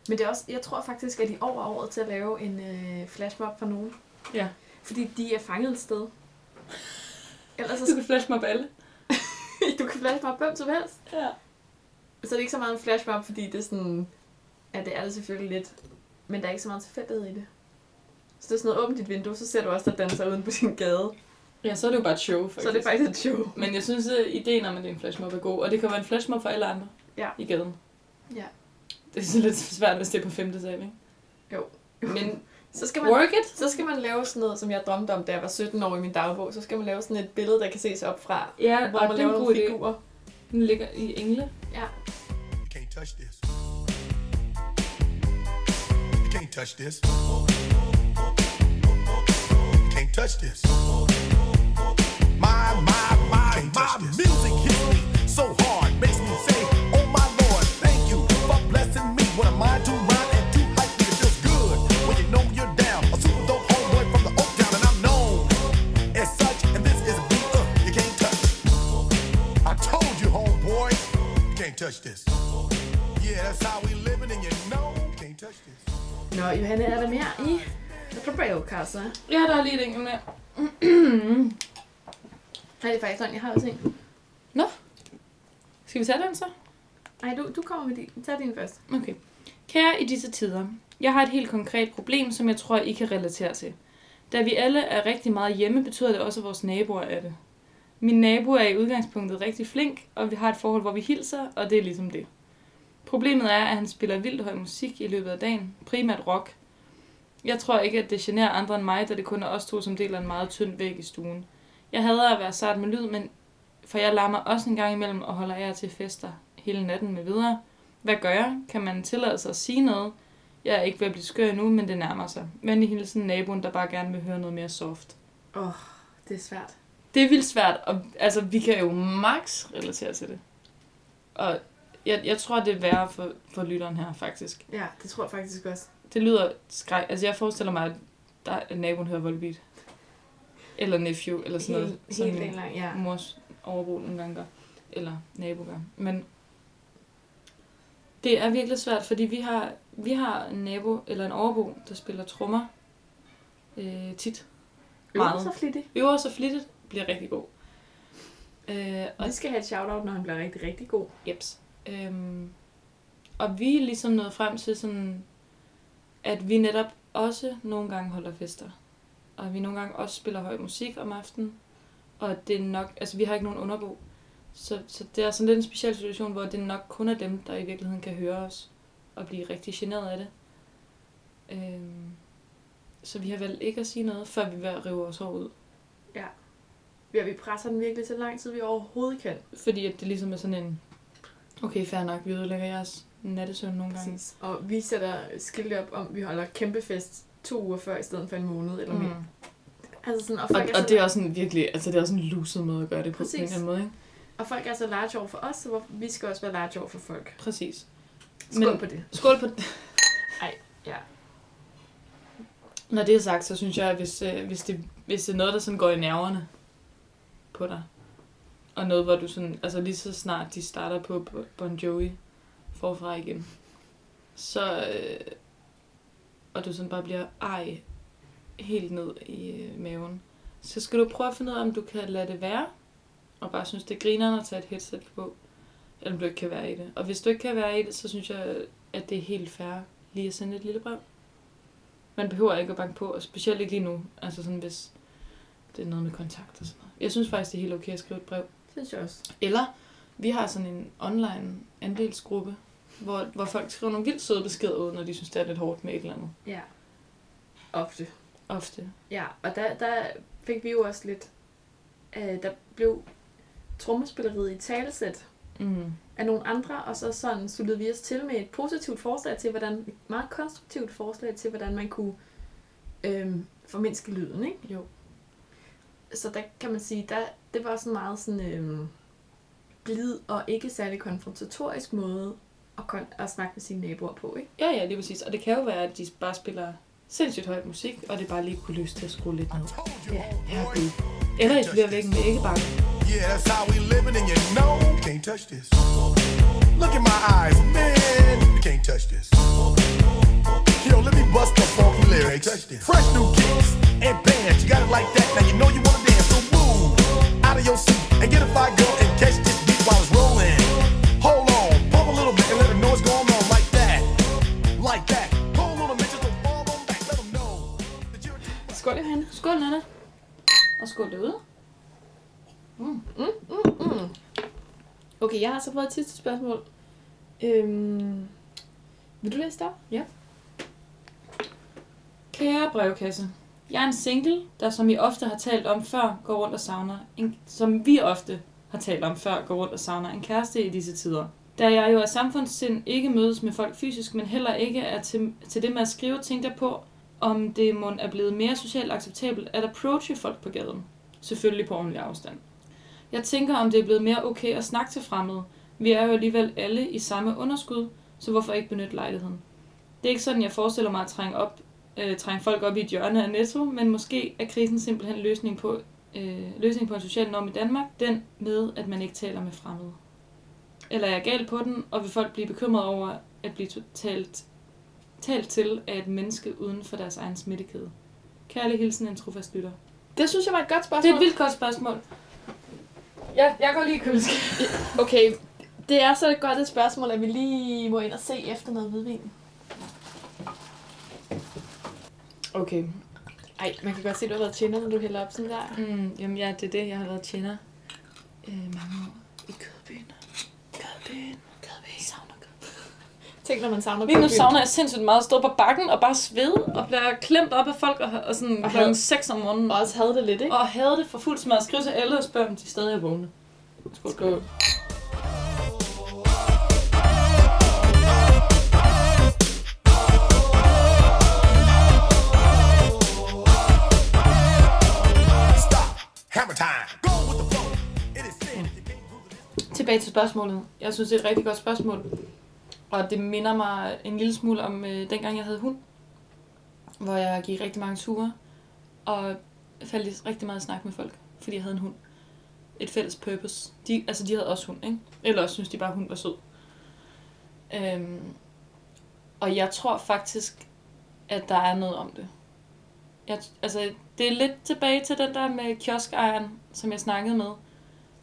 Speaker 3: Men det er også, jeg tror faktisk, at i år er året til at lave en øh, flashmob for nogen.
Speaker 6: Ja.
Speaker 3: Fordi de er fanget et sted. Ellers så
Speaker 6: Du kan flash mig op alle.
Speaker 3: du kan flashmob hvem som helst.
Speaker 6: Ja.
Speaker 3: Så det er ikke så meget en flashmob, fordi det er sådan... Ja, det er det selvfølgelig lidt. Men der er ikke så meget tilfældighed i det. Så det er sådan noget, åbent dit vindue, så ser du også, der danser uden på din gade. Faktisk.
Speaker 6: Ja, så er det jo bare et show, faktisk.
Speaker 3: Så er det faktisk et show.
Speaker 6: Men jeg synes, at ideen om, at det er en flashmob er god, og det kan være en flashmob for alle andre
Speaker 3: Ja.
Speaker 6: i gaden.
Speaker 3: Ja.
Speaker 6: Det er så lidt svært, hvis det er på femte sal, ikke?
Speaker 3: Men så skal, man,
Speaker 6: Work it!
Speaker 3: så skal man lave sådan noget, som jeg drømte om, da jeg var 17 år i min dagbog. Så skal man lave sådan et billede, der kan ses op fra.
Speaker 6: Ja,
Speaker 3: Hvor
Speaker 6: og
Speaker 3: man
Speaker 6: det er en
Speaker 3: laver
Speaker 6: god
Speaker 3: nogle
Speaker 6: idé.
Speaker 3: figurer.
Speaker 6: Den ligger i engle.
Speaker 3: Ja.
Speaker 2: Can't touch this. Can't touch this. Can't touch this.
Speaker 7: My, my, my, my music hits me so hard, makes me say, Oh my Lord, thank you for blessing me. When I'm mind to rhyme and too hype, it feels good when you know you're down. A super dope homeboy from the Oak Town, and I'm known as such. And this is a beat up you can't touch. I told you, homeboy, can't touch this. Yeah, that's how we living, and you know, can't touch this.
Speaker 3: Nå, Johanne, er der mere i? The Brevkasse.
Speaker 6: Ja, der er lige et enkelt mere.
Speaker 3: Nej, det er faktisk sådan, jeg har også en.
Speaker 6: Skal vi tage den så?
Speaker 3: Nej, du, du kommer med din. Tag din først.
Speaker 6: Okay. Kære i disse tider, jeg har et helt konkret problem, som jeg tror, I kan relatere til. Da vi alle er rigtig meget hjemme, betyder det også, at vores naboer er det. Min nabo er i udgangspunktet rigtig flink, og vi har et forhold, hvor vi hilser, og det er ligesom det. Problemet er, at han spiller vildt høj musik i løbet af dagen, primært rock. Jeg tror ikke, at det generer andre end mig, da det kun er os to, som deler en meget tynd væg i stuen. Jeg hader at være sart med lyd, men for jeg larmer også en gang imellem og holder jer til fester hele natten med videre. Hvad gør jeg? Kan man tillade sig at sige noget? Jeg er ikke ved at blive skør endnu, men det nærmer sig. Venlig hilsen naboen, der bare gerne vil høre noget mere soft.
Speaker 3: Åh, oh, det er svært.
Speaker 6: Det er vildt svært, og altså, vi kan jo max relatere til det. Og jeg, jeg tror, det er værre for, for lytteren her, faktisk.
Speaker 3: Ja, det tror jeg faktisk også.
Speaker 6: Det lyder skræk. Altså, jeg forestiller mig, at, der, at naboen hører Volbeat. Eller Nephew, eller sådan noget. som
Speaker 3: helt
Speaker 6: min
Speaker 3: dagen lang, ja.
Speaker 6: mors overbrug nogle gange gør. Eller nabo gør. Men det er virkelig svært, fordi vi har, vi har en nabo, eller en overbo, der spiller trommer øh, tit.
Speaker 3: Meget.
Speaker 6: Meget.
Speaker 3: så flittig.
Speaker 6: Øver sig flittigt, bliver rigtig god. Øh, og
Speaker 3: Vi skal have et shout-out, når han bliver rigtig, rigtig god.
Speaker 6: Jeps. Øhm, og vi er ligesom nået frem til sådan, at vi netop også nogle gange holder fester. Og vi nogle gange også spiller høj musik om aftenen. Og det er nok, altså vi har ikke nogen underbo. Så, så det er sådan lidt en speciel situation, hvor det nok kun er dem, der i virkeligheden kan høre os. Og blive rigtig generet af det. Øhm, så vi har valgt ikke at sige noget, før vi er ved at rive vores hår ud.
Speaker 3: Ja, vi presser den virkelig så lang tid, vi overhovedet kan.
Speaker 6: Fordi at det ligesom er sådan en, okay fair nok, vi ødelægger jeres nattesøvn nogle gange.
Speaker 3: Præcis. Og vi sætter skilte op om, vi holder kæmpe fest to uger før, i stedet for en måned eller mere.
Speaker 6: Mm.
Speaker 3: Altså sådan, og,
Speaker 1: Og,
Speaker 3: folk er
Speaker 1: og
Speaker 3: så,
Speaker 1: det er også en virkelig, altså det er også en luset måde at gøre det på,
Speaker 3: Præcis.
Speaker 1: på en eller anden måde, ikke?
Speaker 3: og folk er så large over for os, så hvor- vi skal også være large over for folk.
Speaker 6: Præcis.
Speaker 3: Skål Men...
Speaker 6: Men-
Speaker 3: på det.
Speaker 6: Skål på det.
Speaker 3: Ej, ja.
Speaker 6: Når det er sagt, så synes jeg, at hvis, øh, hvis, det, hvis det er noget, der sådan går i nerverne på dig, og noget, hvor du sådan, altså lige så snart de starter på Bo- Bon Jovi forfra igen, så, øh, og du sådan bare bliver ej helt ned i øh, maven, så skal du prøve at finde ud af, om du kan lade det være, og bare synes, det griner at tage et headset på, eller om du ikke kan være i det. Og hvis du ikke kan være i det, så synes jeg, at det er helt fair lige at sende et lille brev. Man behøver ikke at banke på, og specielt ikke lige nu. Altså sådan, hvis det er noget med kontakt og sådan noget. Jeg synes faktisk, det er helt okay at skrive et brev.
Speaker 3: Synes jeg også.
Speaker 6: Eller vi har sådan en online andelsgruppe, hvor, hvor folk skriver nogle vildt søde beskeder ud, når de synes, det er lidt hårdt med et eller andet.
Speaker 3: Ja. Ofte.
Speaker 6: Ofte.
Speaker 3: Ja, og der, der fik vi jo også lidt... Øh, der blev trommespilleriet i talesæt
Speaker 6: Mm.
Speaker 3: af nogle andre, og så sådan sluttede vi os til med et positivt forslag til, hvordan... Et meget konstruktivt forslag til, hvordan man kunne øh, formindske lyden, ikke?
Speaker 6: Jo.
Speaker 3: Så der kan man sige, der, det var sådan meget sådan... Øh, blid og ikke særlig konfrontatorisk måde at, kon- at snakke med sine naboer på, ikke?
Speaker 6: Ja, ja, lige præcis. Og det kan jo være, at de bare spiller sindssygt højt musik, og det bare lige kunne lyst til at skrue lidt ned. Eller I bliver væk med ikke bare.
Speaker 7: Yeah, that's how we living, and you know can't touch this. Look in my eyes, man, you can't touch this. Yo, let me bust the funky lyrics. Fresh new kicks and bands, you got it like that. Now you know you wanna dance, so move out of your seat and get a fire girl and catch this beat while it's rolling. Hold on, pump a little bit and let them know what's going on like that, like that. Pull on them and just fall on back, let them know. that you're-
Speaker 3: Skål, Johanne.
Speaker 6: Skål, Nana. Og skål derude.
Speaker 3: Mm. Okay, jeg har så fået et sidste spørgsmål. Øhm, vil du læse det op?
Speaker 6: Kære brevkasse, jeg er en single, der som I ofte har talt om før, går rundt og savner en, som vi ofte har talt om før, går rundt og savner en kæreste i disse tider. Da jeg jo af samfundssind ikke mødes med folk fysisk, men heller ikke er til, til det med at skrive, tænkte jeg på, om det må er blevet mere socialt acceptabelt at approache folk på gaden. Selvfølgelig på ordentlig afstand. Jeg tænker, om det er blevet mere okay at snakke til fremmede. Vi er jo alligevel alle i samme underskud, så hvorfor ikke benytte lejligheden? Det er ikke sådan, jeg forestiller mig at trænge op øh, trænge folk op i et hjørne af Netto, men måske er krisen simpelthen løsning på, øh, løsning på en social norm i Danmark, den med, at man ikke taler med fremmede. Eller er jeg gal på den, og vil folk blive bekymret over at blive to- talt, talt til af et menneske uden for deres egen smittekæde? Kærlig hilsen, en trofast lytter.
Speaker 3: Det synes jeg var et godt
Speaker 6: Det
Speaker 3: spørgsmål.
Speaker 6: er et vildt godt spørgsmål. Jeg, jeg går lige i køleskabet.
Speaker 3: Okay, det er så godt et spørgsmål, at vi lige må ind og se efter noget hvidvin.
Speaker 6: Okay.
Speaker 3: Ej, man kan godt se, at du har været tjener, når du hælder op sådan der.
Speaker 6: Mm, jamen ja, det er det. Jeg har været tjener øh, mange år i Kødbyen. Kødbyen. Kødbyen. Savner Kødbyen.
Speaker 3: Tænk, når man savner
Speaker 6: Lige nu
Speaker 3: kødbyen.
Speaker 6: savner jeg sindssygt meget at stå på bakken og bare svede og blive klemt op af folk og, og sådan
Speaker 3: Og
Speaker 6: og
Speaker 3: had.
Speaker 6: klokken 6 om morgenen.
Speaker 3: Og
Speaker 6: Og,
Speaker 3: også havde det lidt, ikke?
Speaker 6: og havde det for fuld smad at skrive til alle og spørge, om de stadig er vågne. Skål. Skål.
Speaker 7: Stop, hammer time. Go with the flow. It is sin if you can't prove it.
Speaker 6: Tilbage til spørgsmålet. Jeg synes, det er et rigtig godt spørgsmål. Og det minder mig en lille smule om øh, dengang, jeg havde hund. Hvor jeg gik rigtig mange ture. Og faldt i rigtig meget i snak med folk, fordi jeg havde en hund. Et fælles purpose. De, altså, de havde også hund, ikke? Eller også synes de bare, at hund var sød. Øhm, og jeg tror faktisk, at der er noget om det. Jeg, altså, det er lidt tilbage til den der med kioskejeren, som jeg snakkede med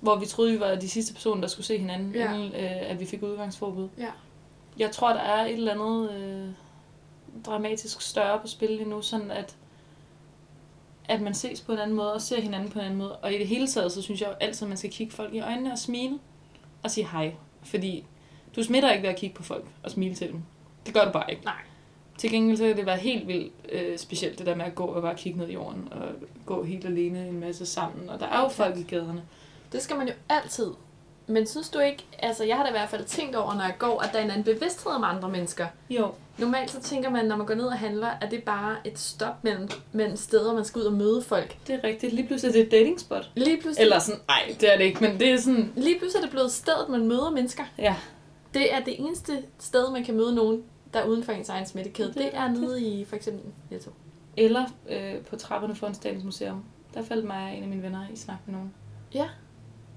Speaker 6: hvor vi troede, vi var de sidste personer, der skulle se hinanden,
Speaker 3: Ja.
Speaker 6: ja. inden øh, at vi fik udgangsforbud.
Speaker 3: Ja.
Speaker 6: Jeg tror, der er et eller andet øh, dramatisk større på spil lige nu, sådan at, at man ses på en anden måde og ser hinanden på en anden måde. Og i det hele taget, så synes jeg jo altid, at man skal kigge folk i øjnene og smile og sige hej. Fordi du smitter ikke ved at kigge på folk og smile til dem. Det gør du bare ikke.
Speaker 3: Nej.
Speaker 6: Til gengæld så kan det være helt vildt øh, specielt, det der med at gå og bare kigge ned i jorden og gå helt alene en masse sammen. Og der er jo folk i gaderne.
Speaker 3: Det skal man jo altid. Men synes du ikke, altså jeg har da i hvert fald tænkt over, når jeg går, at der er en anden bevidsthed om andre mennesker.
Speaker 6: Jo,
Speaker 3: Normalt så tænker man, når man går ned og handler, at det er bare et stop mellem, mellem steder, man skal ud og møde folk.
Speaker 6: Det er rigtigt. Lige pludselig er det et datingspot.
Speaker 3: Lige pludselig,
Speaker 6: Eller sådan, nej, det er det ikke, men det er sådan,
Speaker 3: lige pludselig er det blevet stedet, man møder mennesker.
Speaker 6: ja.
Speaker 3: Det er det eneste sted, man kan møde nogen, der er uden for ens egen smittekæde.
Speaker 6: Det
Speaker 3: Det
Speaker 6: er
Speaker 3: er nede i for eksempel Netto.
Speaker 6: Eller øh, på trapperne foran Statens Museum. Der faldt mig og en af mine venner i snak med nogen.
Speaker 3: Ja.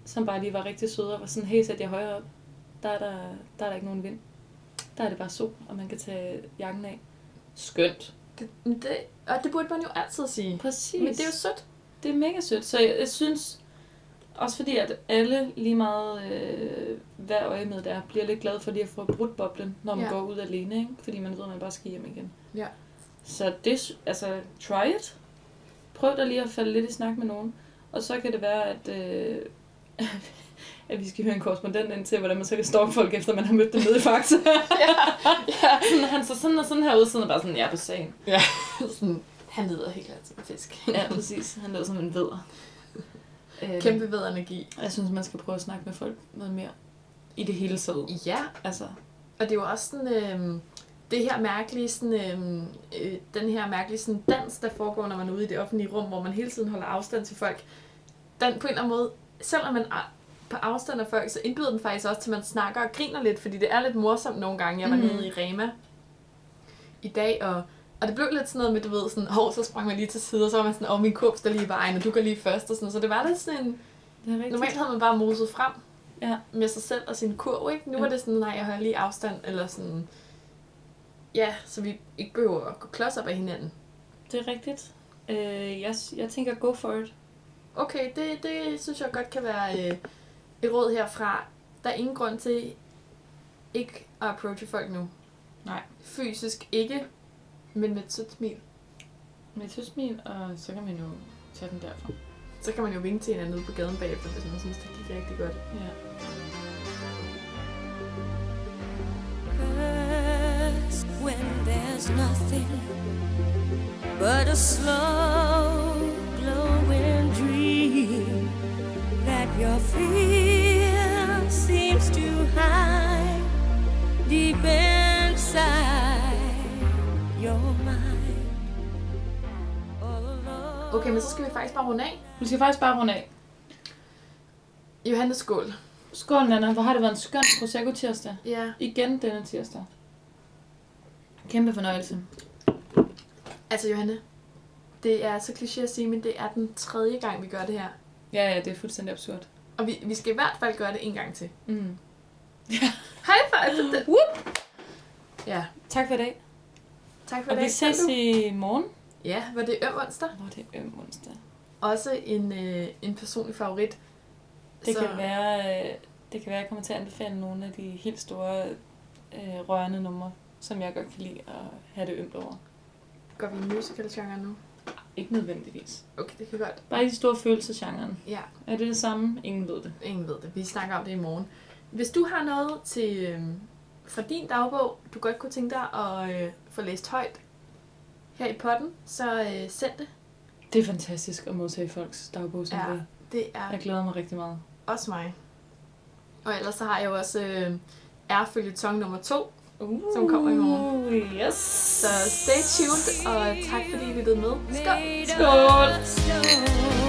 Speaker 6: Som bare lige var rigtig søde og var sådan, hey, sæt jer højere op. Der er der, der, er der ikke nogen vind. Der er det bare sol, og man kan tage jakken af. Skønt.
Speaker 3: Det, men det, og det burde man jo altid sige.
Speaker 6: Præcis.
Speaker 3: Men det er jo sødt.
Speaker 6: det er mega sødt. Så jeg, jeg synes, også fordi at alle lige meget, øh, hvad øje med der, bliver lidt glade for lige at få brudt boblen, når man
Speaker 3: Ja.
Speaker 6: ja. går ud alene. Ikke? Fordi man ved, at man bare skal hjem igen.
Speaker 3: Ja.
Speaker 6: Så det, altså, try it. Prøv da lige at falde lidt i snak med nogen. Og så kan det være, at, øh, at vi skal høre en korrespondent ind til, hvordan man så kan stalke folk, efter man har mødt dem nede i Faxe.
Speaker 3: ja.
Speaker 6: Sådan, han så sådan og sådan her ud, sådan og bare sådan, ja, på sagen.
Speaker 3: ja. Sådan, han lyder helt klart som en fisk.
Speaker 6: Ja, præcis. Han lød som en veder. Øh,
Speaker 3: Kæmpe ved energi.
Speaker 6: Jeg synes, man skal prøve at snakke med folk noget mere. I det hele taget.
Speaker 3: Ja,
Speaker 6: Altså,
Speaker 3: og det er jo også sådan... Øh, det her mærkelige, sådan, øh, øh, den her mærkelige sådan, dans, der foregår, når man er ude i det offentlige rum, hvor man hele tiden holder afstand til folk. Den på en eller anden måde, selvom man er på afstand af folk, så indbyder den faktisk også til, at man snakker og griner lidt, fordi det er lidt morsomt nogle gange. Jeg var mm. nede i Rema i dag, og, og det blev lidt sådan noget med, du ved, sådan, hov, så sprang man lige til side, og så var man sådan, åh, min kurs der lige i vejen, og du går lige først, og sådan noget. Så det var lidt sådan en,
Speaker 6: det er rigtigt.
Speaker 3: Normalt havde man bare moset frem
Speaker 6: Ja.
Speaker 3: med sig selv og sin kurv, ikke? Nu
Speaker 6: Ja.
Speaker 3: var det sådan, nej, jeg holder lige afstand, eller sådan... Ja, så vi ikke behøver at gå klods op af hinanden.
Speaker 6: Det er rigtigt. Øh, jeg, jeg tænker, go for it.
Speaker 3: Okay, det, det synes jeg godt kan være øh, et råd herfra. Der er ingen grund til ikke at approache folk nu.
Speaker 6: Nej.
Speaker 3: Fysisk ikke, men med et sødt smil.
Speaker 6: Med tøsmin, og så kan man jo tage den derfra.
Speaker 3: Så kan man jo vinke til hinanden ude på gaden bagefter, hvis man synes, det gik rigtig godt.
Speaker 6: Ja.
Speaker 4: First, when there's nothing but a slow glowing dream that your fear seems to hide deep inside your mind. All alone.
Speaker 3: Okay, men så skal vi faktisk bare runde af.
Speaker 6: Vi skal faktisk bare runde af.
Speaker 3: Johannes skål.
Speaker 6: Skål, Nana. Hvor har det været en skøn Prosecco-tirsdag.
Speaker 3: Ja.
Speaker 6: Igen denne tirsdag. Kæmpe fornøjelse.
Speaker 3: Altså, Johanne, det er så kliché at sige, men det er den tredje gang, vi gør det her.
Speaker 6: Ja, ja, det er fuldstændig absurd.
Speaker 3: Og vi, vi skal i hvert fald gøre det en gang til.
Speaker 6: Mm.
Speaker 3: High five for det.
Speaker 6: Whoop.
Speaker 3: Ja,
Speaker 6: Tak for i dag.
Speaker 3: tak for
Speaker 6: Og
Speaker 3: i dag.
Speaker 6: vi ses
Speaker 3: Tak, du.
Speaker 6: i morgen.
Speaker 3: Ja, var det øm onsdag?
Speaker 6: Hvor er det øm onsdag.
Speaker 3: Også en, øh, en personlig favorit.
Speaker 6: Det, kan være, øh, det kan være, jeg kommer til at anbefale nogle af de helt store øh, rørende numre, som jeg godt kan lide at have det ømt over.
Speaker 3: Går vi i musical nu?
Speaker 6: Ikke nødvendigvis.
Speaker 3: Okay, det kan godt.
Speaker 6: Bare i de store følelsesgenren.
Speaker 3: Ja,
Speaker 6: Er det det samme? Ingen ved det.
Speaker 3: ingen ved det. Vi snakker om det i morgen. Hvis du har noget til, øh, fra din dagbog, du godt kunne tænke dig at øh, få læst højt her i potten, så øh, send det.
Speaker 6: Det er fantastisk at modtage folks dagbog, som
Speaker 3: Ja.
Speaker 6: ja.
Speaker 3: Det er
Speaker 6: Jeg glæder mig rigtig meget.
Speaker 3: Også mig. Og ellers så har jeg jo også øh, ærfølge tong nummer to,
Speaker 6: Uh,
Speaker 3: som kommer i morgen.
Speaker 6: Yes.
Speaker 3: Så stay tuned, og tak fordi I lyttede med. Skål!
Speaker 4: Made
Speaker 6: Skål.
Speaker 4: of stone.